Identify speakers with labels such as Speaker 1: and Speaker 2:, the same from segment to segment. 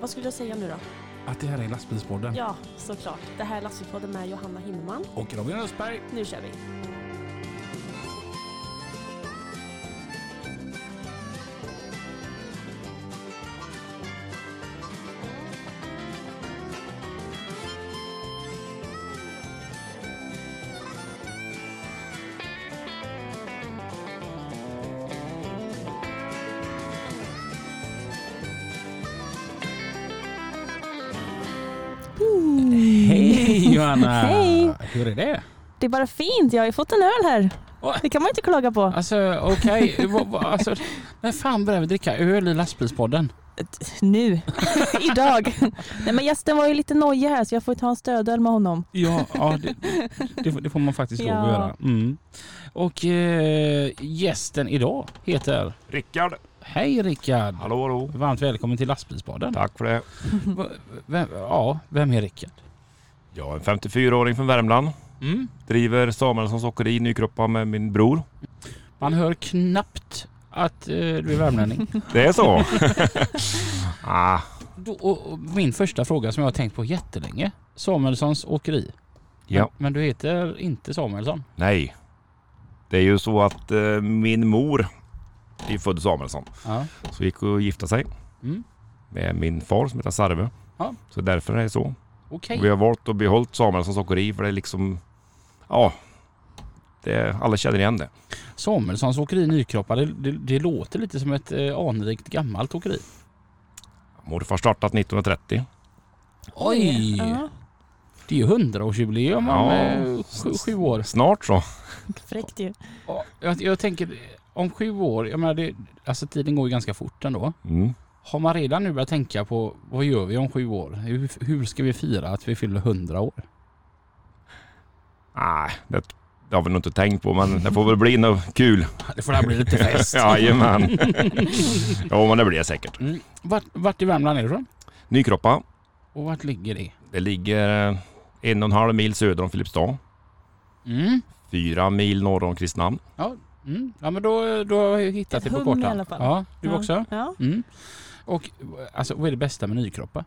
Speaker 1: Vad skulle jag säga nu då?
Speaker 2: Att det här är lastbilspodden.
Speaker 1: Ja, såklart. Det här är Lastbilspodden med Johanna Hinneman.
Speaker 2: Och Robin Östberg.
Speaker 1: Nu kör vi!
Speaker 2: Hej Johanna!
Speaker 3: Hej.
Speaker 2: Hur är det?
Speaker 3: Det är bara fint. Jag har ju fått en öl här.
Speaker 2: Åh.
Speaker 3: Det kan man ju inte klaga på.
Speaker 2: Alltså okej, Va- va- alltså, när fan började vi dricka öl i lastbilspodden?
Speaker 3: Nu. Idag. Nej men gästen var ju lite nojig här så jag får ju ta en stödöl med honom.
Speaker 2: Ja, ja det, det, får- det får man faktiskt lov att
Speaker 3: Ja.
Speaker 2: göra. Mm. Och eh, gästen idag heter...
Speaker 4: Rickard!
Speaker 2: Hej Rickard!
Speaker 4: Hallå hallå!
Speaker 2: Varmt välkommen till lastbilspodden.
Speaker 4: Tack för det.
Speaker 2: Va- Vem, ja, vem är Rickard?
Speaker 4: Jag är en 54-åring från Värmland.
Speaker 2: Mm.
Speaker 4: Driver Samuelssons Åkeri i Nykroppa med min bror.
Speaker 2: Man hör knappt att eh, du är värmlänning.
Speaker 4: Det är så! ah,
Speaker 2: Då, och, och min första fråga som jag har tänkt på jättelänge. Samuelssons åkeri.
Speaker 4: ja,
Speaker 2: Men du heter inte Samuelsson?
Speaker 4: nej. Det är ju så att eh, min mor är ju född Samuelsson.
Speaker 2: Ja.
Speaker 4: Så gick och gifte sig
Speaker 2: Mm.
Speaker 4: med min far som heter Sarve.
Speaker 2: Ja.
Speaker 4: Så därför är det så.
Speaker 2: Okej.
Speaker 4: Och vi har valt att behålla Samuelssons Åkeri för det är liksom... Ja. Det, alla känner igen det.
Speaker 2: Samuelssons åkeri i Nykroppa, det, det, det låter lite som ett eh, anrikt gammalt åkeri.
Speaker 4: Morfar startat 1930.
Speaker 2: Oj!
Speaker 3: Ja,
Speaker 2: Det är ju hundraårsjubileum om
Speaker 4: Ja.
Speaker 2: eh, sju, sju år.
Speaker 4: Snart så.
Speaker 3: fräckt ju.
Speaker 2: Ja, Jag, jag tänker, om sju år, jag menar det, alltså tiden går ju ganska fort ändå.
Speaker 4: Mm.
Speaker 2: Har man redan nu börjat tänka på vad gör vi om sju år? Hur, hur ska vi fira att vi fyller hundra år?
Speaker 4: Nej, det, det har vi nog inte tänkt på, men det får väl bli något kul.
Speaker 2: Det får det bli lite fest.
Speaker 4: Jajamän. jo, men det blir det säkert.
Speaker 2: Mm. Vart, vart i Värmland är du från?
Speaker 4: Nykroppa.
Speaker 2: Och vart ligger det?
Speaker 4: Det ligger eh, en och en halv mil söder om Filipstad.
Speaker 2: Mm.
Speaker 4: Fyra mil norr om Kristinehamn.
Speaker 2: Mm. Ja men då, då har jag hittat
Speaker 3: Ett
Speaker 2: det på kartan.
Speaker 3: hum i alla fall.
Speaker 2: Ja, du
Speaker 3: Ja.
Speaker 2: också?
Speaker 3: Ja.
Speaker 2: Mm. Och alltså, vad är det bästa med Nykroppa?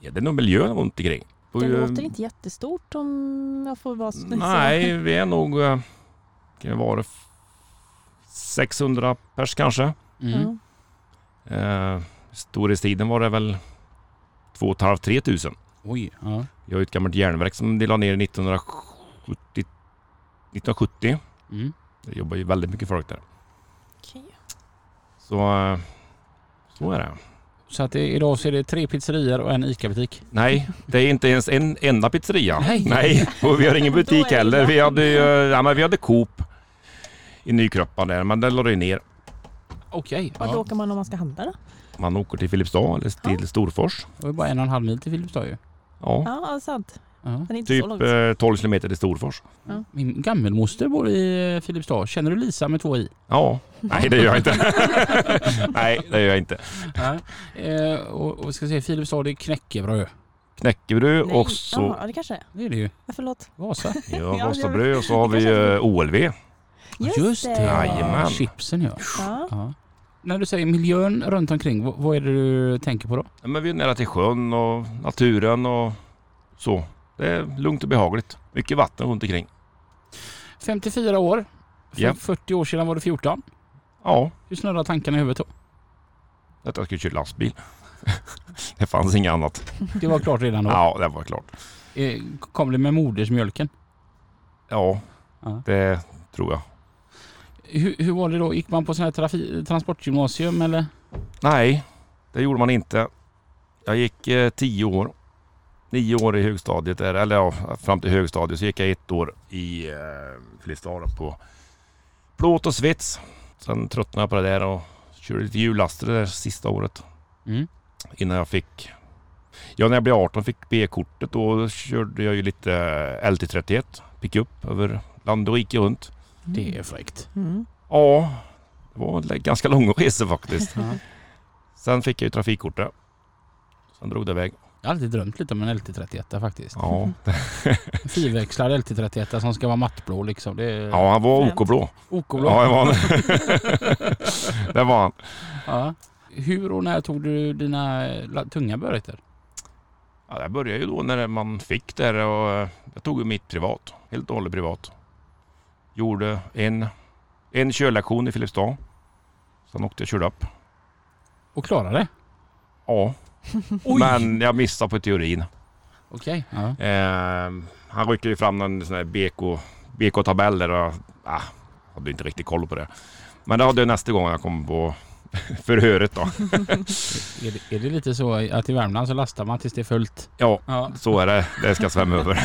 Speaker 4: Ja, det är nog miljön runt omkring. Får
Speaker 3: Det
Speaker 4: ju-
Speaker 3: låter inte jättestort om jag får vara så
Speaker 4: Nej, vi är nog... eh, Kan det vara f- 600 pers kanske.
Speaker 2: Mm.
Speaker 3: Ja.
Speaker 4: Eh, Storhetstiden var det väl 2 500-3 tusen.
Speaker 2: Oj, ja.
Speaker 4: Vi har ju ett gammalt järnverk som de la ner 1970. 1970.
Speaker 2: Mm.
Speaker 4: Det jobbar ju väldigt mycket folk där.
Speaker 3: Okej.
Speaker 4: Så, eh, så är det.
Speaker 2: Så att det, idag så är det tre pizzerior och en ICA-butik.
Speaker 4: Nej, det är inte ens en enda pizzeria.
Speaker 2: Nej.
Speaker 4: Nej, och vi har ingen
Speaker 3: Då är
Speaker 4: butik
Speaker 3: det
Speaker 4: heller.
Speaker 3: bra.
Speaker 4: Vi hade, ju, ja, men vi hade Coop i Nykroppa där, men den la det ju ner.
Speaker 2: Okej.
Speaker 3: Vart
Speaker 2: Ja.
Speaker 3: åker man om man ska handla då?
Speaker 4: Man åker till Filipstad eller till Storfors.
Speaker 2: Det var ju bara en och en halv mil till Filipstad ju.
Speaker 4: Ja,
Speaker 3: Ja, ja, sant.
Speaker 2: Ja.
Speaker 3: Den är inte så
Speaker 4: typ
Speaker 3: långt.
Speaker 4: eh, 12 kilometer till Storfors.
Speaker 2: Min gammelmoster bor i eh, Filipstad. Känner du Lisa med två i?
Speaker 4: Ja, nej det gör jag inte. nej, det gör jag inte.
Speaker 2: Ja. Eh, och, och vi ska se, Filipstad det är knäckebröd.
Speaker 4: Knäckebröd
Speaker 3: Nej.
Speaker 4: och så...
Speaker 3: Jaha, det kanske det
Speaker 2: Det
Speaker 3: är.
Speaker 2: är det ju.
Speaker 3: Ja, Förlåt.
Speaker 2: Vasa.
Speaker 4: Ja,
Speaker 3: Ja,
Speaker 4: Vasabröd och så har vi ju eh, OLV. Jajamän.
Speaker 2: Chipsen ja.
Speaker 3: Ja.
Speaker 2: ja. När du säger miljön runt omkring, vad, vad är det du tänker på då?
Speaker 4: Ja, men vi är nära till sjön och naturen och så. Det är lugnt och behagligt. Mycket vatten runt omkring.
Speaker 2: 54 år. För
Speaker 4: Ja.
Speaker 2: 40 år sedan var du 14.
Speaker 4: Ja,
Speaker 2: Hur snurrar tankarna i huvudet då?
Speaker 4: att jag skulle köra lastbil. det fanns inget annat.
Speaker 2: Det var klart redan då.
Speaker 4: Ja, det var klart.
Speaker 2: Eh, Kom det med modersmjölken?
Speaker 4: Ja,
Speaker 2: Ja.
Speaker 4: det tror jag.
Speaker 2: Hur, hur var det då? Gick man på sån här trafi- transportgymnasium eller?
Speaker 4: Nej, det gjorde man inte. Jag gick eh, tio år. Nio år i högstadiet, där, eller ja, fram till högstadiet. Så gick jag ett år i eh, Filipstad då på plåt och svets. Sen tröttnade jag på det där och körde lite hjullaster det där sista året.
Speaker 2: Mm.
Speaker 4: innan jag fick... Ja, när jag blev 18 fick B-kortet då körde jag ju lite LT31 pickup över land och rike runt.
Speaker 2: Det är fräckt.
Speaker 3: Mm.
Speaker 4: Ja, det var en ganska lång resa faktiskt.
Speaker 2: Ja.
Speaker 4: Sen fick jag ju trafikkortet. Sen drog det iväg.
Speaker 2: Jag har alltid drömt lite om en LT31 faktiskt.
Speaker 4: Ja,
Speaker 2: En Fyrväxlad LT31 som ska vara mattblå liksom. Det är
Speaker 4: ja han var OK-blå.
Speaker 2: OK-blå.
Speaker 4: Ja, det var han. det var han.
Speaker 2: Ja. Hur och när tog du dina eh, la- tunga behörigheter?
Speaker 4: Ja, det började ju då när man fick det här och eh, jag tog ju mitt privat. Helt och hållet privat. Gjorde en, en körlektion i Filipstad. Sen åkte jag och körde upp.
Speaker 2: Och klarade det?
Speaker 4: Ja,
Speaker 2: Oj!
Speaker 4: men jag missade på teorin.
Speaker 2: Okej. Ja.
Speaker 4: Eh, han ryckte ju fram någon sån här BK, BK-tabell där och ah, hade inte riktigt koll på det. Men det hade jag nästa gång jag kom på förhöret då.
Speaker 2: Är, det, är det lite så att i Värmland så lastar man tills det är fullt?
Speaker 4: Ja,
Speaker 2: Ja.
Speaker 4: så är det. Det ska svämma över.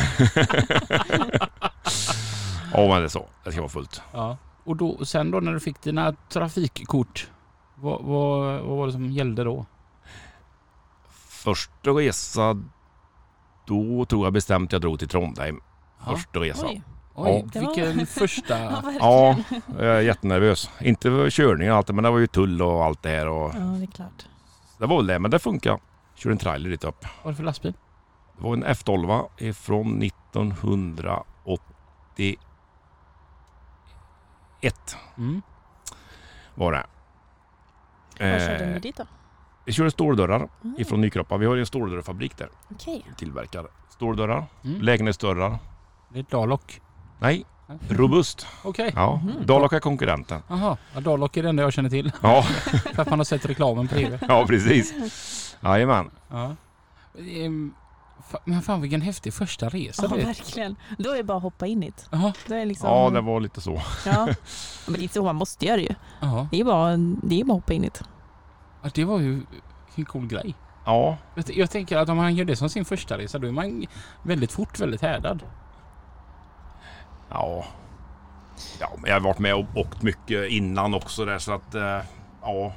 Speaker 4: Ja, men det är så. Det ska vara fullt.
Speaker 2: ja. Och då, och sen då när du fick dina trafikkort, vad, vad, vad var det som gällde då?
Speaker 4: Första resa, då tror jag bestämt jag drog till Trondheim.
Speaker 2: Ja.
Speaker 4: Första resan.
Speaker 3: Oj.
Speaker 2: Oj,
Speaker 3: Ja.
Speaker 2: vilken första...
Speaker 4: Ja, jag är jättenervös. Inte för körningen och allt, men det var ju tull och allt det här. Och
Speaker 3: Ja, det är klart.
Speaker 4: det var väl det, men det funkar. Körde en trailer dit upp.
Speaker 2: Vad är det för lastbil?
Speaker 4: Det var en F12 ifrån 1981
Speaker 2: Mm.
Speaker 4: var det.
Speaker 1: Vad körde ni
Speaker 4: Eh,
Speaker 1: dit då?
Speaker 4: vi körde ståldörrar
Speaker 1: Mm.
Speaker 4: ifrån Nykroppa. Vi har ju en ståldörrfabrik där.
Speaker 1: Okej.
Speaker 4: Tillverkar ståldörrar,
Speaker 2: Mm.
Speaker 4: lägenhetsdörrar.
Speaker 2: Det är ett Dalok.
Speaker 4: Nej,
Speaker 2: Nej.
Speaker 1: Mm.
Speaker 4: robust.
Speaker 2: Okej.
Speaker 4: Ja,
Speaker 3: Mhm.
Speaker 4: Dalak är konkurrenten.
Speaker 2: Jaha, ja, Dalok är det enda jag känner till.
Speaker 4: Ja,
Speaker 2: För att man har sett reklamen på TV.
Speaker 4: ja precis. Jajamän.
Speaker 2: Ja. Ehm, fa- Men fan vilken häftig första resa
Speaker 3: Ja,
Speaker 2: du vet.
Speaker 3: verkligen. Då är det bara att hoppa in i det.
Speaker 2: Jaha,
Speaker 3: Då är det liksom,
Speaker 4: Ja, det var lite så.
Speaker 3: ja. Men det är så man måste göra ju.
Speaker 2: jaha.
Speaker 3: Det är bara, det är bara att hoppa in i det.
Speaker 2: Ja, det var ju en cool grej.
Speaker 4: Ja,
Speaker 2: Jag t- Jag tänker att om han gör det som sin första resa då är man väldigt fort väldigt härdad.
Speaker 4: ja. Ja, men jag har varit med och åkt mycket innan också där så att eh, ja.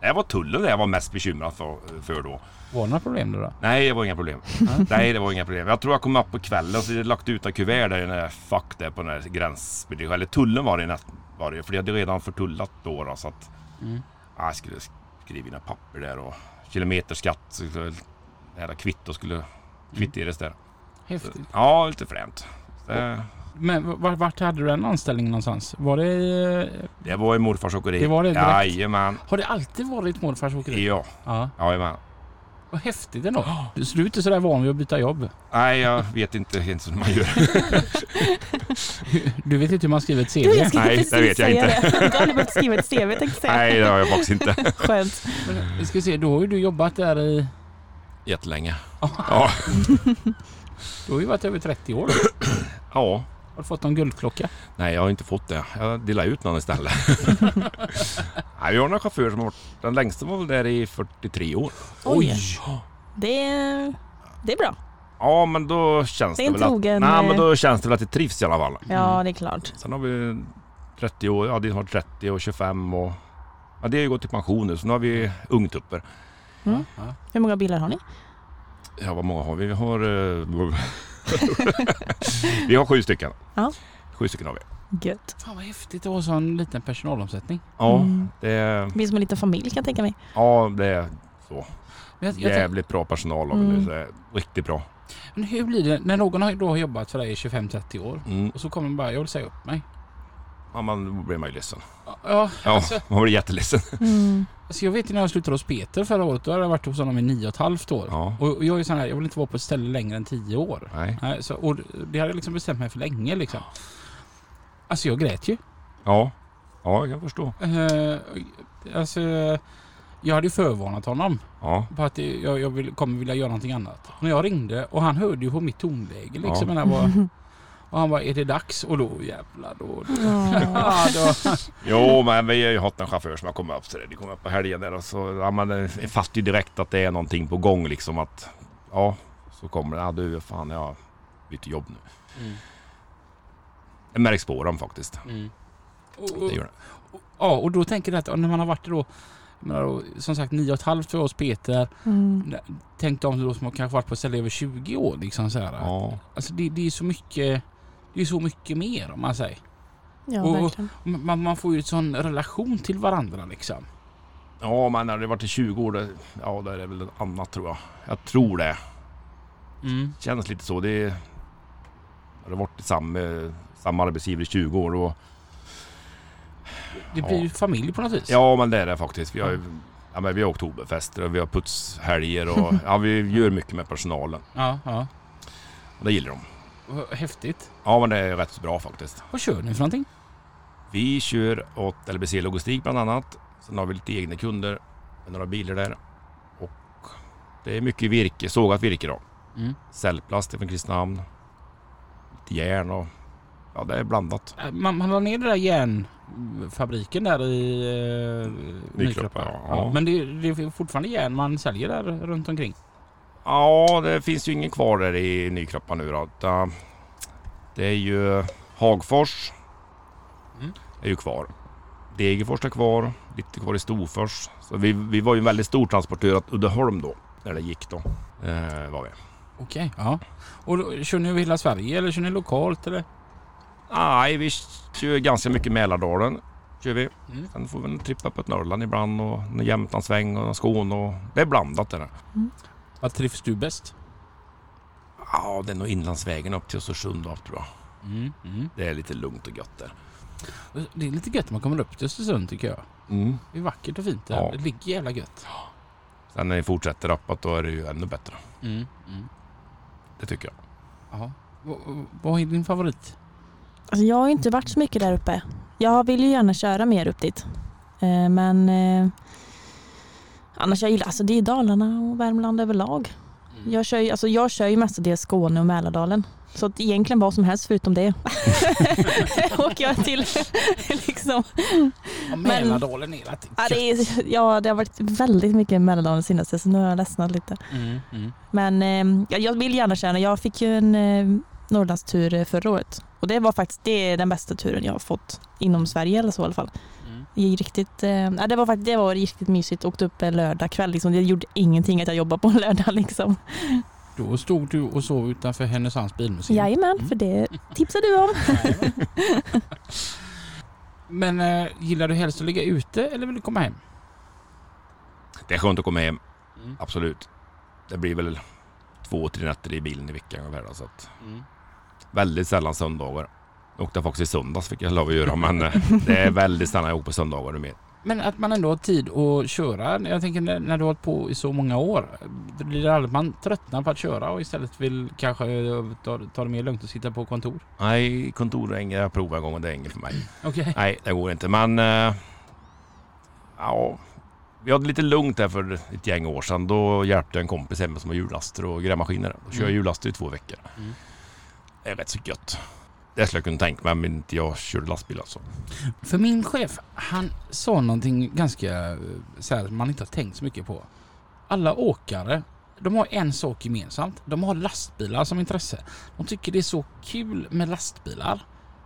Speaker 4: Det var tullen det jag var mest bekymrad för, för då.
Speaker 2: Var det några problem då? då?
Speaker 4: Nej, det var inga problem.
Speaker 2: Nej.
Speaker 4: Nej, det var inga problem. Jag tror jag kom upp på kvällen så hade jag lagt ut ett kuvert där i den här fack där på den här gräns... Eller tullen var det, nät- var det för jag hade redan förtullat då, då så att...
Speaker 2: Mm.
Speaker 4: Ja, jag skulle skriva in ett papper där och kilometerskatt. Så skulle jag- det här kvitto skulle kvitteras där.
Speaker 2: Häftigt.
Speaker 4: Ja, lite fränt. Det,
Speaker 2: Men v- var- vart hade du den anställningen någonstans? Var det... eh,
Speaker 4: det var ju morfars åkeri.
Speaker 2: Det var det direkt.
Speaker 4: Jajamän.
Speaker 2: Har det alltid varit morfars åkeri?
Speaker 4: Ja,
Speaker 2: Ja.
Speaker 4: jajamän.
Speaker 2: Vad häftigt ändå. Så du är inte sådär van vid att byta jobb?
Speaker 4: Nej, jag vet inte ens hur man gör.
Speaker 2: Du vet inte hur man skriver ett
Speaker 3: Du, jag
Speaker 2: CV?
Speaker 3: skulle
Speaker 4: Nej, det
Speaker 3: precis
Speaker 4: vet jag
Speaker 3: säga det. Du har aldrig behövt skriva ett CV tänkte jag säga.
Speaker 4: Nej, det har jag faktiskt inte.
Speaker 3: Skönt.
Speaker 2: Vi ska se, då har ju du jobbat där i...
Speaker 4: Jättelänge. Ja.
Speaker 2: Du har ju varit över 30 år.
Speaker 4: ja.
Speaker 2: Har du fått någon guldklocka?
Speaker 4: Nej, jag har inte fått det. Jag delar ut någon istället. Nej, vi har några chaufförer som har varit... Den längsta var väl där i 43 år.
Speaker 3: Oj. Det är, det är bra.
Speaker 4: Ja, men då känns
Speaker 3: Det är
Speaker 4: det,
Speaker 3: en
Speaker 4: väl att...
Speaker 3: trogen,
Speaker 4: Nej,
Speaker 3: eh,
Speaker 4: men då känns det väl att det trivs i alla fall.
Speaker 3: Ja, det är klart.
Speaker 4: Sen har vi 30 år, ja det har varit 30 och 25 och... Ja, det har ju gått i pension nu, så nu har vi ungtupper.
Speaker 3: Mm.
Speaker 2: Ja.
Speaker 3: Hur många bilar har ni?
Speaker 4: Ja, vad många har vi? Vi har... eh, vi har sju stycken.
Speaker 3: Ja.
Speaker 4: Sju stycken har vi.
Speaker 3: Gött.
Speaker 2: Fan vad häftigt att ha sån liten personalomsättning.
Speaker 4: Ja,
Speaker 3: Mm.
Speaker 4: det är...
Speaker 3: Det blir som en liten familj kan jag tänka mig.
Speaker 4: Ja, det är
Speaker 2: Men, jag, jag tänk,
Speaker 4: jävligt bra personal har vi nu.
Speaker 3: Mm.
Speaker 4: så det är Riktigt bra.
Speaker 2: men hur blir det när någon har, då har jobbat för dig i 25-30 år
Speaker 4: Mm.
Speaker 2: och så kommer man bara jag vill säga upp mig.
Speaker 4: Ja, man då blir man ju ledsen.
Speaker 2: Ja,
Speaker 4: Ja,
Speaker 2: Alltså-
Speaker 4: man blir jätteledsen.
Speaker 3: Mm.
Speaker 2: alltså jag vet ju när jag slutade hos Peter förra året, då hade jag varit hos honom i 9,5 år.
Speaker 4: Ja.
Speaker 2: Och och jag är ju sån här, jag vill inte vara på ett ställe längre än 10 år.
Speaker 4: Nej.
Speaker 2: Nej, så, och det hade jag liksom bestämt mig för länge liksom. Alltså jag grät ju.
Speaker 4: Ja. Ja, jag kan förstå.
Speaker 2: Eh, alltså, jag hade ju förvarnat honom.
Speaker 4: Ja.
Speaker 2: på att det- jag, jag vill, kommer vilja göra någonting annat. När jag ringde och han hörde ju på mitt tonläge liksom.
Speaker 4: Ja.
Speaker 2: Men han var, och han bara, är det dags? Och då jävlar då. då.
Speaker 3: Ja.
Speaker 2: Ja, då.
Speaker 4: Jo, men vi har ju haft en chaufför som har kommit upp så det. De kommer upp på helgen där och så ja, man eh, fattar ju direkt att det är någonting på gång liksom att ja, så kommer det. Ja, du fan, jag byter jobb nu.
Speaker 2: Mm.
Speaker 4: Det märks på dem faktiskt.
Speaker 2: Mm. Och, och,
Speaker 4: Det gör det.
Speaker 2: ja, och då tänker jag att när man har varit då, jag menar då som sagt nio och ett halvt år hos Peter.
Speaker 3: Mm.
Speaker 2: Tänk de då som har kanske varit på ett ställe över 20 år liksom så här.
Speaker 4: Ja.
Speaker 2: Alltså det, det är så mycket, det är så mycket mer om man säger.
Speaker 3: Ja,
Speaker 2: Och-
Speaker 3: verkligen.
Speaker 2: Man, man får ju en sån relation till varandra liksom.
Speaker 4: Ja, men när det varit i 20 år, det, ja, där är det väl något annat tror jag. Jag tror det.
Speaker 2: Mm.
Speaker 4: Känns lite så. Det är, har det varit i samma, samma arbetsgivare i 20 år och
Speaker 2: Det blir
Speaker 4: Ja.
Speaker 2: ju familj på något vis.
Speaker 4: Ja, men det är det faktiskt. Vi har ju Ja, men vi har oktoberfester och vi har putshelger och ja, vi gör mycket med personalen.
Speaker 2: Ja, ja.
Speaker 4: Och det gillar de.
Speaker 2: Vad Häftigt.
Speaker 4: Ja, men det är rätt så bra faktiskt.
Speaker 2: Vad kör ni för någonting?
Speaker 4: Vi kör åt LBC Logistik bland annat. Sen har vi lite egna kunder med några bilar där. Och det är mycket virke, sågat virke då.
Speaker 2: Mm.
Speaker 4: Cellplast från Kristinehamn. Lite järn och ja, det är blandat.
Speaker 2: Äh, Man, man la ner den där järnfabriken där i eh, Nykroppa.
Speaker 4: ja.
Speaker 2: Ja, men det, det är fortfarande järn man säljer där runt omkring.
Speaker 4: Ja, det finns ju ingen kvar där i Nykroppa nu då. utan Det är ju Hagfors.
Speaker 2: Mm.
Speaker 4: är ju kvar. Degerfors är kvar, lite kvar i Storfors. Så vi, vi var ju en väldigt stor transportör åt Uddeholm då, när det gick då. Eh, var vi.
Speaker 2: Okej. Ja. Och då, kör ni över hela Sverige eller kör ni lokalt eller?
Speaker 4: Nej, vi kör ganska mycket Mälardalen. Kör vi.
Speaker 2: Mm.
Speaker 4: Sen får vi en trippa på ett Norrland ibland och en Jämtlandssväng och en Skåne och... Det är blandat det där.
Speaker 2: Vad trivs du bäst?
Speaker 4: Ja, det är nog Inlandsvägen upp till Östersund då, tror jag.
Speaker 2: Mm. Mm.
Speaker 4: Det är lite lugnt och gött där.
Speaker 2: Det är lite gött när man kommer upp till Östersund tycker jag.
Speaker 4: Mm.
Speaker 2: Det är vackert och fint där.
Speaker 4: Ja.
Speaker 2: Det ligger jävla gött.
Speaker 4: Sen när ni fortsätter uppåt då är det ju ännu bättre.
Speaker 2: Mm. Mm.
Speaker 4: Det tycker jag.
Speaker 2: Ja. Vad- Vad är din favorit?
Speaker 3: Alltså, jag har ju inte varit så mycket där uppe. Jag vill ju gärna köra mer upp dit. Eh, Men eh, annars jag gillar, alltså det är Dalarna och Värmland överlag. Jag kör ju, alltså jag kör ju mestadels Skåne och Mälardalen. Så att egentligen vad som helst förutom det. Åker jag till. liksom.
Speaker 2: Ja, Mälardalen är rätt
Speaker 3: ja, det är, ja, det har varit väldigt mycket Mälardalen senaste så nu har jag ledsnat lite.
Speaker 2: Mm. Mm.
Speaker 3: Men eh, jag- jag vill gärna köra. Jag fick ju en eh, Norrlandstur eh, förra året. Och det var faktiskt det är den bästa turen jag har fått inom Sverige eller så i alla fall.
Speaker 2: Mm.
Speaker 3: Det, är riktigt, eh, ja, det, var faktiskt, det var riktigt mysigt. Åkte upp en lördag kväll. Liksom. Det gjorde ingenting att jag jobbade på en lördag. Liksom.
Speaker 2: Då stod du och sov utanför Härnösands bilmuseum.
Speaker 3: Jajamän,
Speaker 2: Mm.
Speaker 3: för det tipsade du om.
Speaker 2: Men eh, gillar du helst att ligga ute eller vill du komma hem?
Speaker 4: Det är skönt att komma hem,
Speaker 2: Mm.
Speaker 4: absolut. Det blir väl två, tre nätter i bilen i veckan ungefär. då, Så att
Speaker 2: Mm.
Speaker 4: väldigt sällan söndagar. Jag åkte faktiskt i söndags fick jag lov att göra men eh, det är väldigt sällan jag åker på söndagar numera.
Speaker 2: Men att man ändå har tid att köra. Jag tänker när, när du har hållit på i så många år. Det blir aldrig att man tröttnar på att köra och istället vill kanske eh, ta, ta det mer lugnt och sitta på kontor?
Speaker 4: Nej, kontor är inget. Jag provade en gång och det är inget för mig.
Speaker 2: Okej.
Speaker 4: Nej, det går inte. Men... eh, ja, vi hade lite lugnt där för ett gäng år sedan. Då hjälpte jag en kompis hemma som har hjullaster och grävmaskiner. Då kör jag
Speaker 2: Mm.
Speaker 4: hjullaster i två veckor.
Speaker 2: Mm.
Speaker 4: Det är rätt så gött. Det skulle jag kunna tänka mig om inte jag körde lastbil alltså.
Speaker 2: För min chef, han sa någonting ganska eh, så här, man inte har tänkt så mycket på. Alla åkare, de har en sak gemensamt. De har lastbilar som intresse. De tycker det är så kul med lastbilar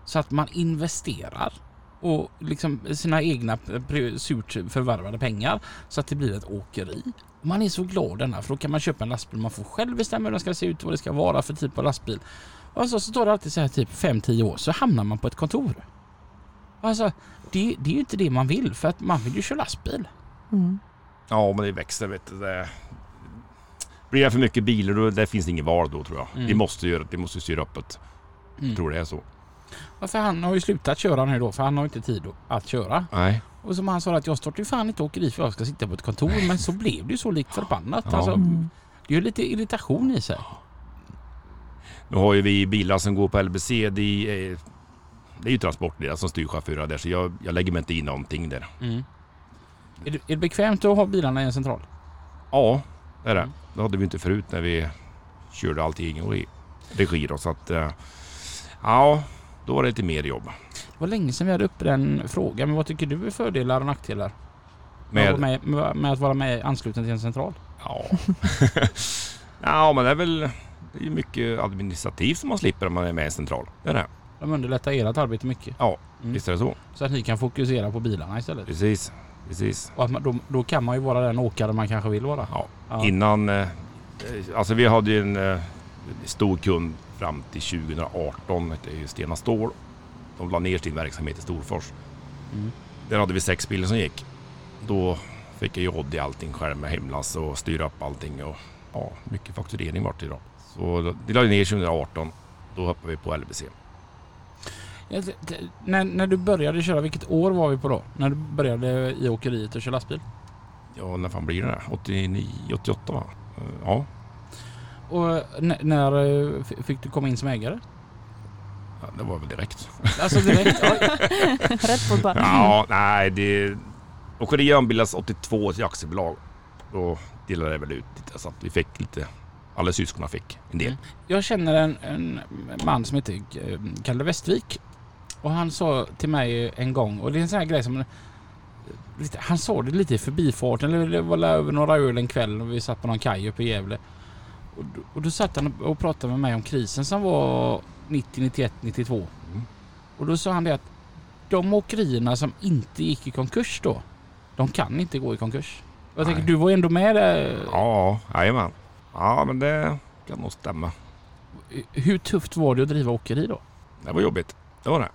Speaker 2: så att man investerar och liksom sina egna pri- surt förvärvade pengar så att det blir ett åkeri. Man är så glad denna för då kan man köpa en lastbil man får själv bestämma hur den ska se ut och vad det ska vara för typ av lastbil. Och så, så tar det alltid så här typ 5-10 år så hamnar man på ett kontor. Alltså, det, det är ju inte det man vill för att man vill ju köra lastbil.
Speaker 3: Mm.
Speaker 4: Ja, men det växer vet du. Det... Blir det för mycket bilar då det finns inget val då tror jag.
Speaker 2: Mm.
Speaker 4: Vi måste göra det. Vi måste styra upp det.
Speaker 2: Mm.
Speaker 4: Jag tror det är så.
Speaker 2: Ja, För han har ju slutat köra nu då för han har ju inte tid att köra.
Speaker 4: Nej.
Speaker 2: Och som han sa att jag startar ju fan inte åkeri för jag ska sitta på ett kontor men så blev det ju så likt förbannat.
Speaker 4: Ja.
Speaker 2: Alltså,
Speaker 3: Mm.
Speaker 2: det är ju lite irritation i sig.
Speaker 4: Nu har ju vi bilar som går på LBC. Det är, eh, det är ju transportledare som styr chaufförer där så jag, jag lägger mig inte i någonting där.
Speaker 2: Är, det, är det bekvämt att ha bilarna i en central?
Speaker 4: Ja, det är det.
Speaker 2: Mm.
Speaker 4: Det hade vi inte förut när vi körde allting i regi då, så att... eh, Ja, då var det lite mer jobb.
Speaker 2: Det var länge sedan vi hade uppe den frågan men vad tycker du är fördelar och nackdelar? Med,
Speaker 4: Med,
Speaker 2: med, med, med att vara med ansluten till en central?
Speaker 4: ja. ja, men det är väl... Det är ju mycket administrativt som man slipper om man är med i en central. Det är det.
Speaker 2: De underlättar ert arbete mycket Mm.
Speaker 4: Visst är det så?
Speaker 2: så att ni kan fokusera på bilarna istället.
Speaker 4: Precis. Precis.
Speaker 2: Och att man, då, då kan man ju vara den åkare man kanske vill vara.
Speaker 4: Ja.
Speaker 2: Ja.
Speaker 4: Innan... eh, Alltså vi hade ju en eh, stor kund fram till 2018. Det är ju Stena Stål. De la ner sin verksamhet i Storfors.
Speaker 2: Mm.
Speaker 4: Där hade vi sex bilar som gick. Då fick jag ju odd i allting själv med hemlas och styra upp allting. Och, ja, mycket fakturering vart det idag. Så då- det la ju ner 2018. Då hoppade vi på LBC.
Speaker 2: Ja, det- det- När, när du började köra, vilket år var vi på då? När du började i åkeriet och köra lastbil?
Speaker 4: Ja, när fan blir det? där? 89, 88 va? Eh, Ja,
Speaker 2: Och n- när eh, f- fick du komma in som ägare?
Speaker 4: Ja, det var väl direkt.
Speaker 2: Alltså direkt? Oj.
Speaker 3: Rätt på bara.
Speaker 4: Ja, nej det... Åkeriet ombildades 82 till aktiebolag. Då delade det väl ut lite så att vi fick lite... Alla syskonen fick en del.
Speaker 2: Jag känner en, en man som heter eh, Kalle Westvik. Och han sa till mig en gång, och det är en sån här grej som... eh, Lite, han sa det lite i förbifarten, eller det var väl över några öl en kväll när vi satt på någon kaj uppe i Gävle. Och, då- och då satt han och pratade med mig om krisen som var 90, 91, 92.
Speaker 4: Mm.
Speaker 2: Och då sa han det att de åkerierna som inte gick i konkurs då, de kan inte gå i konkurs. Och Jag
Speaker 4: Nej.
Speaker 2: tänker, du var ändå med där.
Speaker 4: Ja, jajamän. Ja, men det kan nog stämma.
Speaker 2: Hur tufft var det att driva åkeri då?
Speaker 4: Det var jobbigt. Det var det.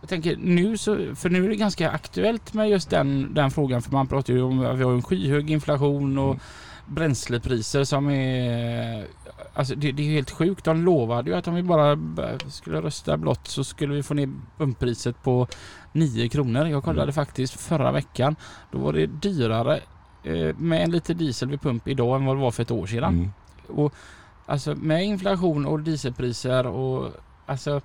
Speaker 2: Jag tänker nu så, för nu är det ganska aktuellt med just den, den frågan för man pratar ju om att vi har en skyhög inflation och
Speaker 4: Mm.
Speaker 2: bränslepriser som är... Alltså det, det är helt sjukt. De lovade ju att om vi bara b- skulle rösta blått så skulle vi få ner pumppriset på 9 kronor. Jag kollade
Speaker 4: Mm.
Speaker 2: faktiskt förra veckan. Då var det dyrare eh, med en liter diesel vid pump idag än vad det var för ett år sedan.
Speaker 4: Mm.
Speaker 2: Och alltså med inflation och dieselpriser och alltså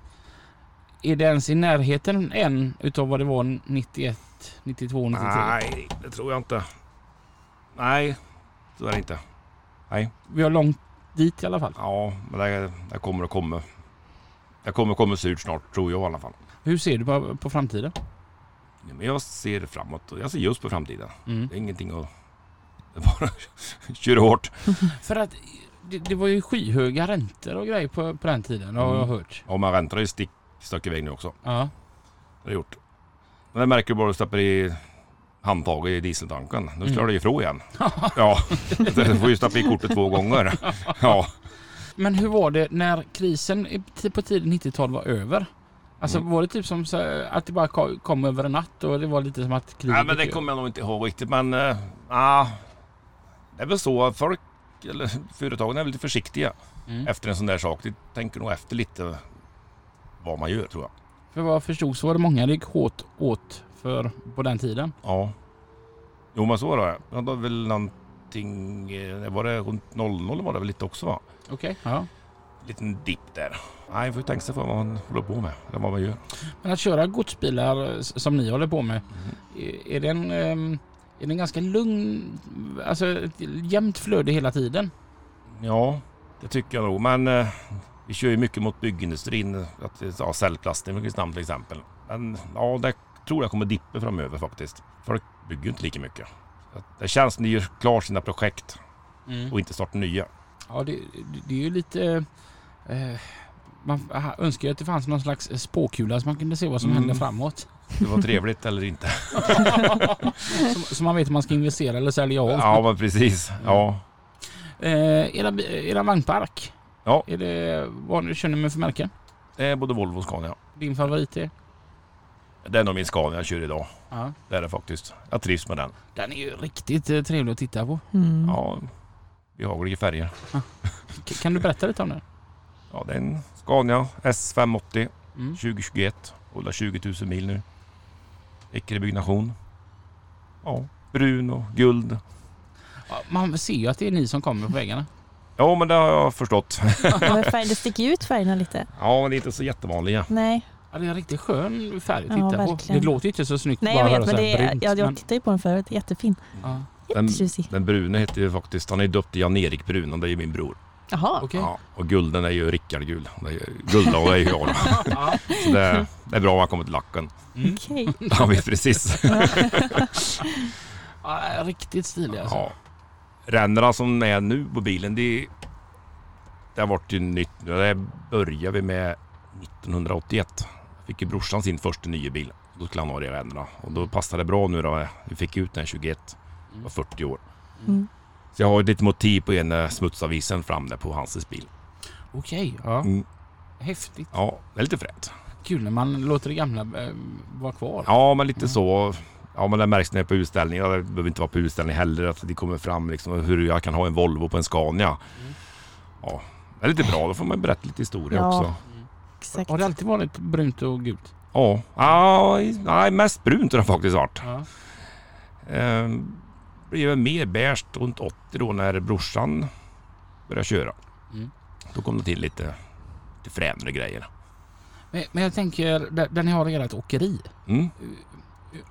Speaker 2: är det ens i närheten än utav vad det var 91, 92, 93?
Speaker 4: Nej, det tror jag inte. Nej, så är det inte.
Speaker 2: Vi har långt dit i alla fall.
Speaker 4: Ja, men det, det kommer och kommer. Det kommer och kommer surt snart, tror jag i alla fall.
Speaker 2: Hur ser du på, på framtiden?
Speaker 4: Ja, Men jag ser framåt och jag ser just på framtiden.
Speaker 2: Mm.
Speaker 4: Det är ingenting att... Det är bara kör hårt.
Speaker 2: För att det, det var ju skyhöga räntor och grejer på, på den tiden har jag
Speaker 4: Mm.
Speaker 2: hört.
Speaker 4: Ja, man räntar ju stick, stack iväg nu också.
Speaker 2: Ja.
Speaker 4: Det har jag gjort. Men det märker du bara du släpper i handtaget i dieseltanken. Då slår
Speaker 2: Mm.
Speaker 4: det ifrån igen. Ja, du får ju stappa i kortet två gånger. Ja,
Speaker 2: Men hur var det när krisen i- ti- på tidigt 90-tal var över? Alltså
Speaker 4: Mm.
Speaker 2: var det typ som så här att det bara ko- kom över en natt och det var lite som att kriget...
Speaker 4: Nej, men det kommer jag nog inte ihåg riktigt. Men eh, ah, det är väl så att folk, eller företagen är väl lite försiktiga
Speaker 2: Mm.
Speaker 4: efter en sån där sak. De tänker nog efter lite vad man gör tror jag.
Speaker 2: För vad jag förstod så var det många det gick hårt åt för på den tiden.
Speaker 4: Ja. Jo men så var det. Ja, då väl någonting, eh, var det runt 00 var det väl lite också va?
Speaker 2: Okej. Ja.
Speaker 4: Liten dipp där. Nej, man får ju tänka sig för vad man håller på med. Eller vad man gör.
Speaker 2: Men att köra godsbilar eh, s- som ni håller på med,
Speaker 4: Mm.
Speaker 2: är- är det en, ehm, är det en ganska lugn, alltså ett jämnt flöde hela tiden?
Speaker 4: Ja, det tycker jag nog. Men eh, vi kör ju mycket mot byggindustrin. Att, det- ja, cellplasten i Kristinehamn till exempel. Men ja, det tror jag kommer dippa framöver faktiskt. Folk bygger ju inte lika mycket. Så att Det känns som att de gör klart sina projekt och inte startar nya.
Speaker 2: Ja, det, det- det är ju lite... Eh, man ha- önskar ju att det fanns någon slags spåkula så man kunde se vad som
Speaker 4: Mm.
Speaker 2: händer framåt.
Speaker 4: Det var trevligt eller inte.
Speaker 2: så, så man vet om man ska investera eller sälja av.
Speaker 4: Ja, men precis. Ja.
Speaker 2: Eh, era, bi- era vagnpark,
Speaker 4: Ja.
Speaker 2: är det, vad känner ni med för märken?
Speaker 4: Det är både Volvo och Scania.
Speaker 2: Din favorit är?
Speaker 4: Det är nog min Scania jag kör idag.
Speaker 2: Ja.
Speaker 4: Det är det faktiskt. Jag trivs med den.
Speaker 2: Den är ju riktigt eh, trevlig att titta på.
Speaker 3: Mm.
Speaker 4: Ja, behagliga färger.
Speaker 2: K- Kan du berätta lite om den?
Speaker 4: Ja, det är en Scania S580
Speaker 2: Mm.
Speaker 4: 2021. Rullar 20 000 mil nu. Läcker byggnation. Ja, brun och guld.
Speaker 2: Ja, Man ser ju att det är ni som kommer på väggarna.
Speaker 4: Ja, men det har jag förstått.
Speaker 3: Ja, men färg, det sticker ju ut färgerna lite.
Speaker 4: Ja, men det är inte så jättevanliga.
Speaker 3: Nej,
Speaker 2: Ja, det är en riktigt skön färg att
Speaker 3: Ja,
Speaker 2: titta på.
Speaker 3: verkligen.
Speaker 2: Det låter ju inte så snyggt
Speaker 3: Nej
Speaker 2: bara
Speaker 3: jag
Speaker 2: att höra
Speaker 3: vet men
Speaker 2: så
Speaker 3: det
Speaker 2: här
Speaker 3: är,
Speaker 2: brunt,
Speaker 3: jag, jag
Speaker 2: men-
Speaker 3: tittade på den förut, jättefin.
Speaker 2: ja,
Speaker 4: Den,
Speaker 3: Jättetjusig.
Speaker 4: den brune heter ju faktiskt, han är döpt till Jan-Erik Brun och det är ju min bror.
Speaker 3: Jaha,
Speaker 2: okej.
Speaker 4: Ja, och gulden är ju Rickard Gul. Det är ju- Gulda och det är ju jag.
Speaker 2: Ja.
Speaker 4: Så det, det är bra om han kommer till lacken.
Speaker 2: Mm.
Speaker 3: okej.
Speaker 4: Han vet precis.
Speaker 2: Ja, riktigt stilig alltså.
Speaker 4: Ja. Ränderna som är nu på bilen, det, det har varit ju nytt. nu. Det började vi med 1981. Fick ju brorsan sin första nya bil. Då skulle han ha det i ränderna. Och då passade det bra nu då. Vi fick ut den 21,
Speaker 2: Mm.
Speaker 4: var 40 år.
Speaker 3: Mm.
Speaker 4: Så jag har ju lite motiv på en eh, smutsavisen fram där på Hanses bil.
Speaker 2: Okej, ja.
Speaker 4: Mm.
Speaker 2: häftigt.
Speaker 4: Ja, det är lite fränt.
Speaker 2: Kul när man låter det gamla eh, vara kvar.
Speaker 4: Ja, men lite
Speaker 2: Mm.
Speaker 4: så. Ja, men det märks när jag är på utställningar. Det behöver inte vara på utställning heller. Att det kommer fram liksom hur jag kan ha en Volvo på en Scania. Ja, det är lite bra. Då får man berätta lite historia
Speaker 3: Ja.
Speaker 4: också.
Speaker 3: Exakt.
Speaker 2: Har det alltid varit brunt och gult?
Speaker 4: Ja, ja i- nej, mest brunt har det faktiskt varit.
Speaker 2: Ja.
Speaker 4: Ehm, blev jag mer bärst runt 80 då när brorsan började köra.
Speaker 2: Mm.
Speaker 4: Då kom det till lite, lite fränare grejer.
Speaker 2: Men, men jag tänker, där, där ni har ert åkeri.
Speaker 4: Mm.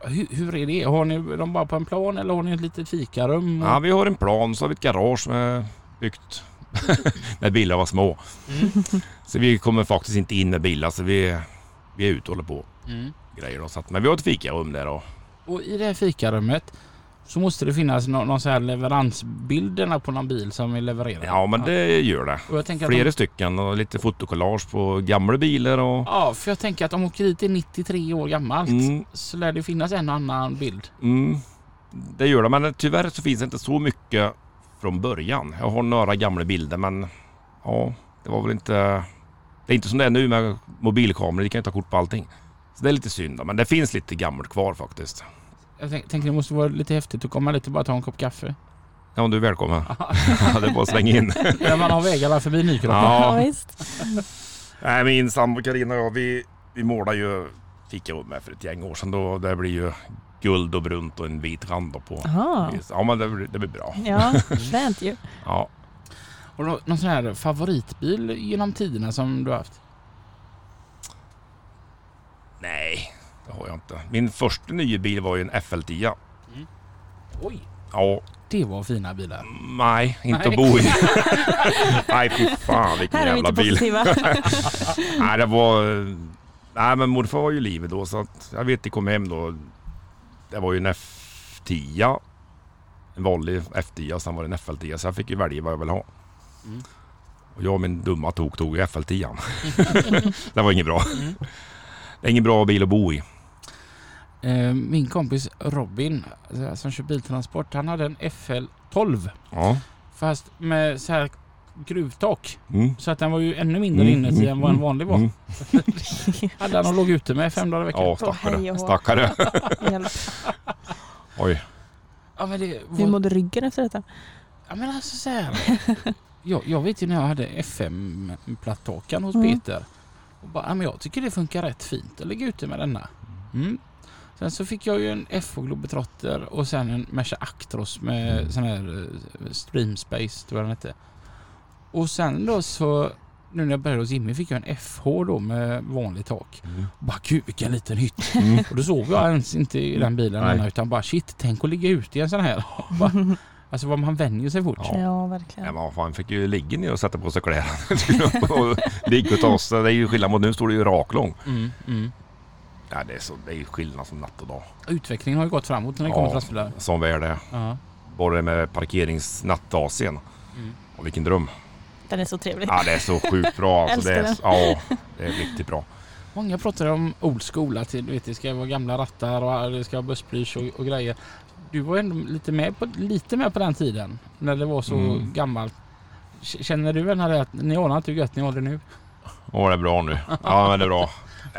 Speaker 2: Hur, hur är det? Har ni dem bara på en plan eller har ni ett litet fikarum?
Speaker 4: Ja, vi har en plan så har vi ett garage som är byggt när bilar var små.
Speaker 2: Mm.
Speaker 4: Så vi kommer faktiskt inte in med bilar så vi, vi är ute och håller på
Speaker 2: Mm.
Speaker 4: grejer. Då, så att, men vi har ett fikarum där och
Speaker 2: Och i det här fikarummet så måste det finnas någon, någon så här leveransbilderna på någon bil som är levererad.
Speaker 4: ja men det gör det.
Speaker 2: Och jag tänker att
Speaker 4: Flera
Speaker 2: de,
Speaker 4: stycken och lite fotokollage på gamla bilar och...
Speaker 2: Ja, för jag tänker att om åkeriet är 93 år gammalt
Speaker 4: Mm,
Speaker 2: så lär det finnas en och annan bild.
Speaker 4: mm, det gör det men tyvärr så finns det inte så mycket från början. Jag har några gamla bilder men ja, det var väl inte... Det är inte som det är nu med mobilkameror, vi kan ju ta kort på allting. Så det är lite synd då, men det finns lite gammalt kvar faktiskt.
Speaker 2: Jag tänk, tänker det måste vara lite häftigt att komma lite och bara ta en kopp kaffe.
Speaker 4: Ja, du är välkommen. Ja, det är bara att slänga in.
Speaker 2: När man har vägarna förbi Nykroppa.
Speaker 4: Ja.
Speaker 3: Ja, visst.
Speaker 4: Nej, min sambo Carina och jag, vi, vi målade ju fikarum med för ett gäng år sedan. Då, det blir ju guld och brunt och en vit rand då på.
Speaker 3: Aha.
Speaker 4: Ja, men det, blir- det blir bra.
Speaker 3: Ja, fränt ju.
Speaker 4: Ja.
Speaker 2: Har du någon sån här favoritbil genom tiderna som du har haft?
Speaker 4: Nej, det har jag inte. Min första nya bil var ju en FL10.
Speaker 2: Oj,
Speaker 4: Ja,
Speaker 2: det var fina bilar.
Speaker 4: nej,
Speaker 2: Nej.
Speaker 4: inte att bo i. nej, fy fan vilken
Speaker 3: Här är vi
Speaker 4: jävla
Speaker 3: inte
Speaker 4: bil.
Speaker 3: positiva.
Speaker 4: Nej, det var... Nej, men morfar var ju i livet då så att jag vet, det kom hem då. Det var ju en F10. En vanlig F10 och sen var det en FL10 så jag fick ju välja vad jag ville ha.
Speaker 2: Mm.
Speaker 4: Och jag och min dumma tok tog ju FL10. det var inget bra.
Speaker 2: Mm.
Speaker 4: Det är ingen bra bil att bo i.
Speaker 2: Eh, Min kompis Robin eh, som kör biltransport, han hade en FL12.
Speaker 4: Ja.
Speaker 2: Fast med så här gruvtak.
Speaker 4: Mm.
Speaker 2: Så att den var ju ännu mindre
Speaker 4: Mm,
Speaker 2: inuti
Speaker 4: mm,
Speaker 2: än vad en
Speaker 4: mm,
Speaker 2: vanlig var.
Speaker 4: mm.
Speaker 2: Hade han och låg ute med fem dagar i veckan.
Speaker 4: Ja,
Speaker 2: Ja,
Speaker 3: hej och
Speaker 4: stackare.
Speaker 3: hå.
Speaker 4: Stackare.
Speaker 3: Hjälp.
Speaker 4: Oj.
Speaker 2: men det var...
Speaker 3: Hur mådde ryggen efter detta?
Speaker 2: Ja men alltså så här. jag, jag vet ju när jag hade FM-plattakan hos
Speaker 3: Mm.
Speaker 2: Peter. Och bara, ja, men jag tycker det funkar rätt fint att ligga ute med denna. Mm. Sen så fick jag ju en FH Globetrotter och sen en Merca Actros med
Speaker 4: Mm.
Speaker 2: sån här eh, Stream Space tror jag den hette. Och sen då så, nu när jag började hos Jimmy fick jag en FH då med vanligt tak.
Speaker 4: Mm.
Speaker 2: Bara gud vilken liten hytt.
Speaker 4: Mm.
Speaker 2: Och då sov jag ens inte i den bilen
Speaker 4: Nej.
Speaker 2: ännu, utan bara shit tänk att ligga ute i en sån här. Bara, alltså vad man vänjer sig fort.
Speaker 4: Ja.
Speaker 3: Ja,
Speaker 4: Nej,
Speaker 3: verkligen.
Speaker 4: men vad fan, fick ju ligga ner och sätta på sig kläderna. och ligga och ta sig. Det är ju skillnad mot nu står det ju raklång.
Speaker 2: Mm, mm.
Speaker 4: Ja, det, är så, det är ju skillnad som natt och dag.
Speaker 2: Utvecklingen har ju gått framåt när det kommer till lastbilar.
Speaker 4: Som väl är.
Speaker 2: Ja.
Speaker 4: Både med parkeringsnatt-AC'n.
Speaker 2: Mm.
Speaker 4: Och vilken dröm.
Speaker 3: Den är så trevlig.
Speaker 4: Ja, det är så sjukt bra. Alltså, det, är,
Speaker 3: Älskar
Speaker 4: ja, det är riktigt bra.
Speaker 2: Många pratar om old school, att du vet, det ska vara gamla rattar och det ska vara bussblysch och, och grejer. Du var ändå lite med, på, lite med på den tiden, när det var så
Speaker 4: Mm.
Speaker 2: gammalt. K- Känner du den här att ni anar inte hur gött ni har det nu?
Speaker 4: Åh, det är bra nu. Ja, men det är bra.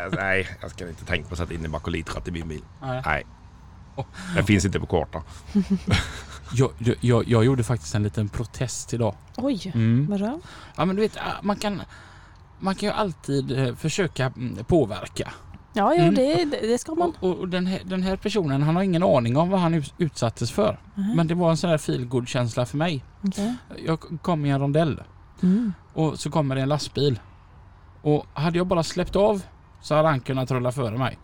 Speaker 4: Alltså, nej, jag ska inte tänka på att sätta in en bakolitchatt i min bil.
Speaker 2: Nej.
Speaker 4: Nej. Den finns inte på kartan.
Speaker 2: Jag, jag- jag, jag gjorde faktiskt en liten protest idag.
Speaker 3: Oj, vadå?
Speaker 2: Ja, men du vet, ah, man kan, man kan ju alltid eh, försöka mm, påverka.
Speaker 3: Ja, jo,
Speaker 2: Mm.
Speaker 3: det, det det ska man.
Speaker 2: Och, och och den, här, den här personen, han har ingen aning om vad han ut- utsattes för.
Speaker 3: Nej,
Speaker 2: Men det var en sån här feelgood känsla för mig.
Speaker 3: okej.
Speaker 2: Jag kom i en rondell
Speaker 3: Mm.
Speaker 2: och så kommer det en lastbil. Och hade jag bara släppt av så hade han kunnat rulla före mig.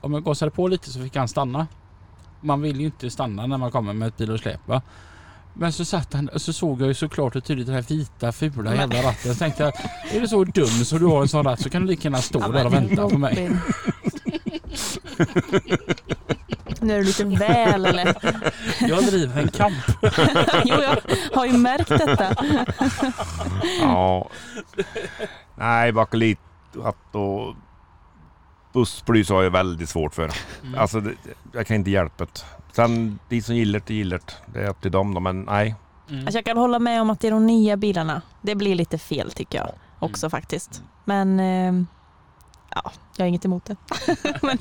Speaker 2: Om jag gasade på lite så fick han stanna. Man vill ju inte stanna när man kommer med ett bil och släp va? Men så satt han och så såg jag ju såklart och tydligt den här vita fula jävla ratten. Så tänkte jag, är du så dum så du har en sån ratt så kan du lika gärna stå där och vänta på mig.
Speaker 3: Robin. Nu är du lite väl eller?
Speaker 2: Jag driver en kamp.
Speaker 3: Jo, jag har ju märkt detta.
Speaker 4: Ja. Nej, bakelithatt och bussblus har jag väldigt svårt för.
Speaker 2: Mm.
Speaker 4: Alltså, det, jag kan inte hjälpa det. Sen, de som gillar det, gillar det. Det är upp till dem då, men nej.
Speaker 2: Mm.
Speaker 3: Alltså jag kan hålla med om att det är de nya bilarna. Det blir lite fel tycker
Speaker 4: Mm.
Speaker 3: jag också faktiskt. Men eh, ja, jag har inget emot det. men,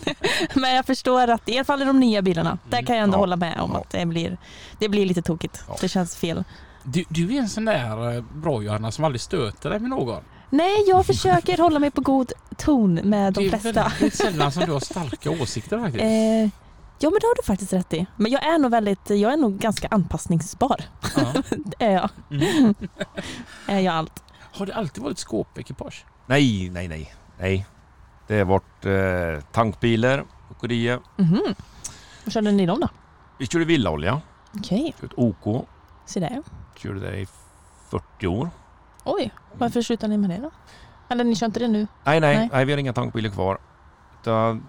Speaker 3: men jag förstår att i alla fall i de nya bilarna, där kan jag ändå
Speaker 4: Mm.
Speaker 3: hålla
Speaker 4: Ja.
Speaker 3: med om
Speaker 4: Ja.
Speaker 3: att det blir, det blir lite tokigt.
Speaker 4: Ja.
Speaker 3: Det känns fel.
Speaker 2: Du, du är en sån där eh, bra Johanna som aldrig stöter dig med någon.
Speaker 3: Nej, jag försöker hålla mig på god ton med
Speaker 2: det
Speaker 3: de
Speaker 2: är
Speaker 3: flesta.
Speaker 2: väldigt sällan som du har starka åsikter faktiskt.
Speaker 3: Eh, Ja men det har du faktiskt rätt i. Men jag är nog väldigt, jag är nog ganska anpassningsbar.
Speaker 2: Ja.
Speaker 3: Det är jag.
Speaker 4: Mm.
Speaker 3: är jag allt.
Speaker 2: Har det alltid varit skåpekipage?
Speaker 4: Nej, nej, nej. nej. Det har varit eh, tankbilar, åkerier.
Speaker 3: Mhm. Vad körde ni dem då?
Speaker 4: Vi körde villaolja,
Speaker 3: Okej,
Speaker 4: ett OK.
Speaker 3: se där.
Speaker 4: Körde det i 40 år.
Speaker 3: Oj, varför slutade ni med det då? Eller ni kör inte det nu?
Speaker 4: Nej, nej,
Speaker 3: Nej.
Speaker 4: nej. vi har inga tankbilar kvar. Utan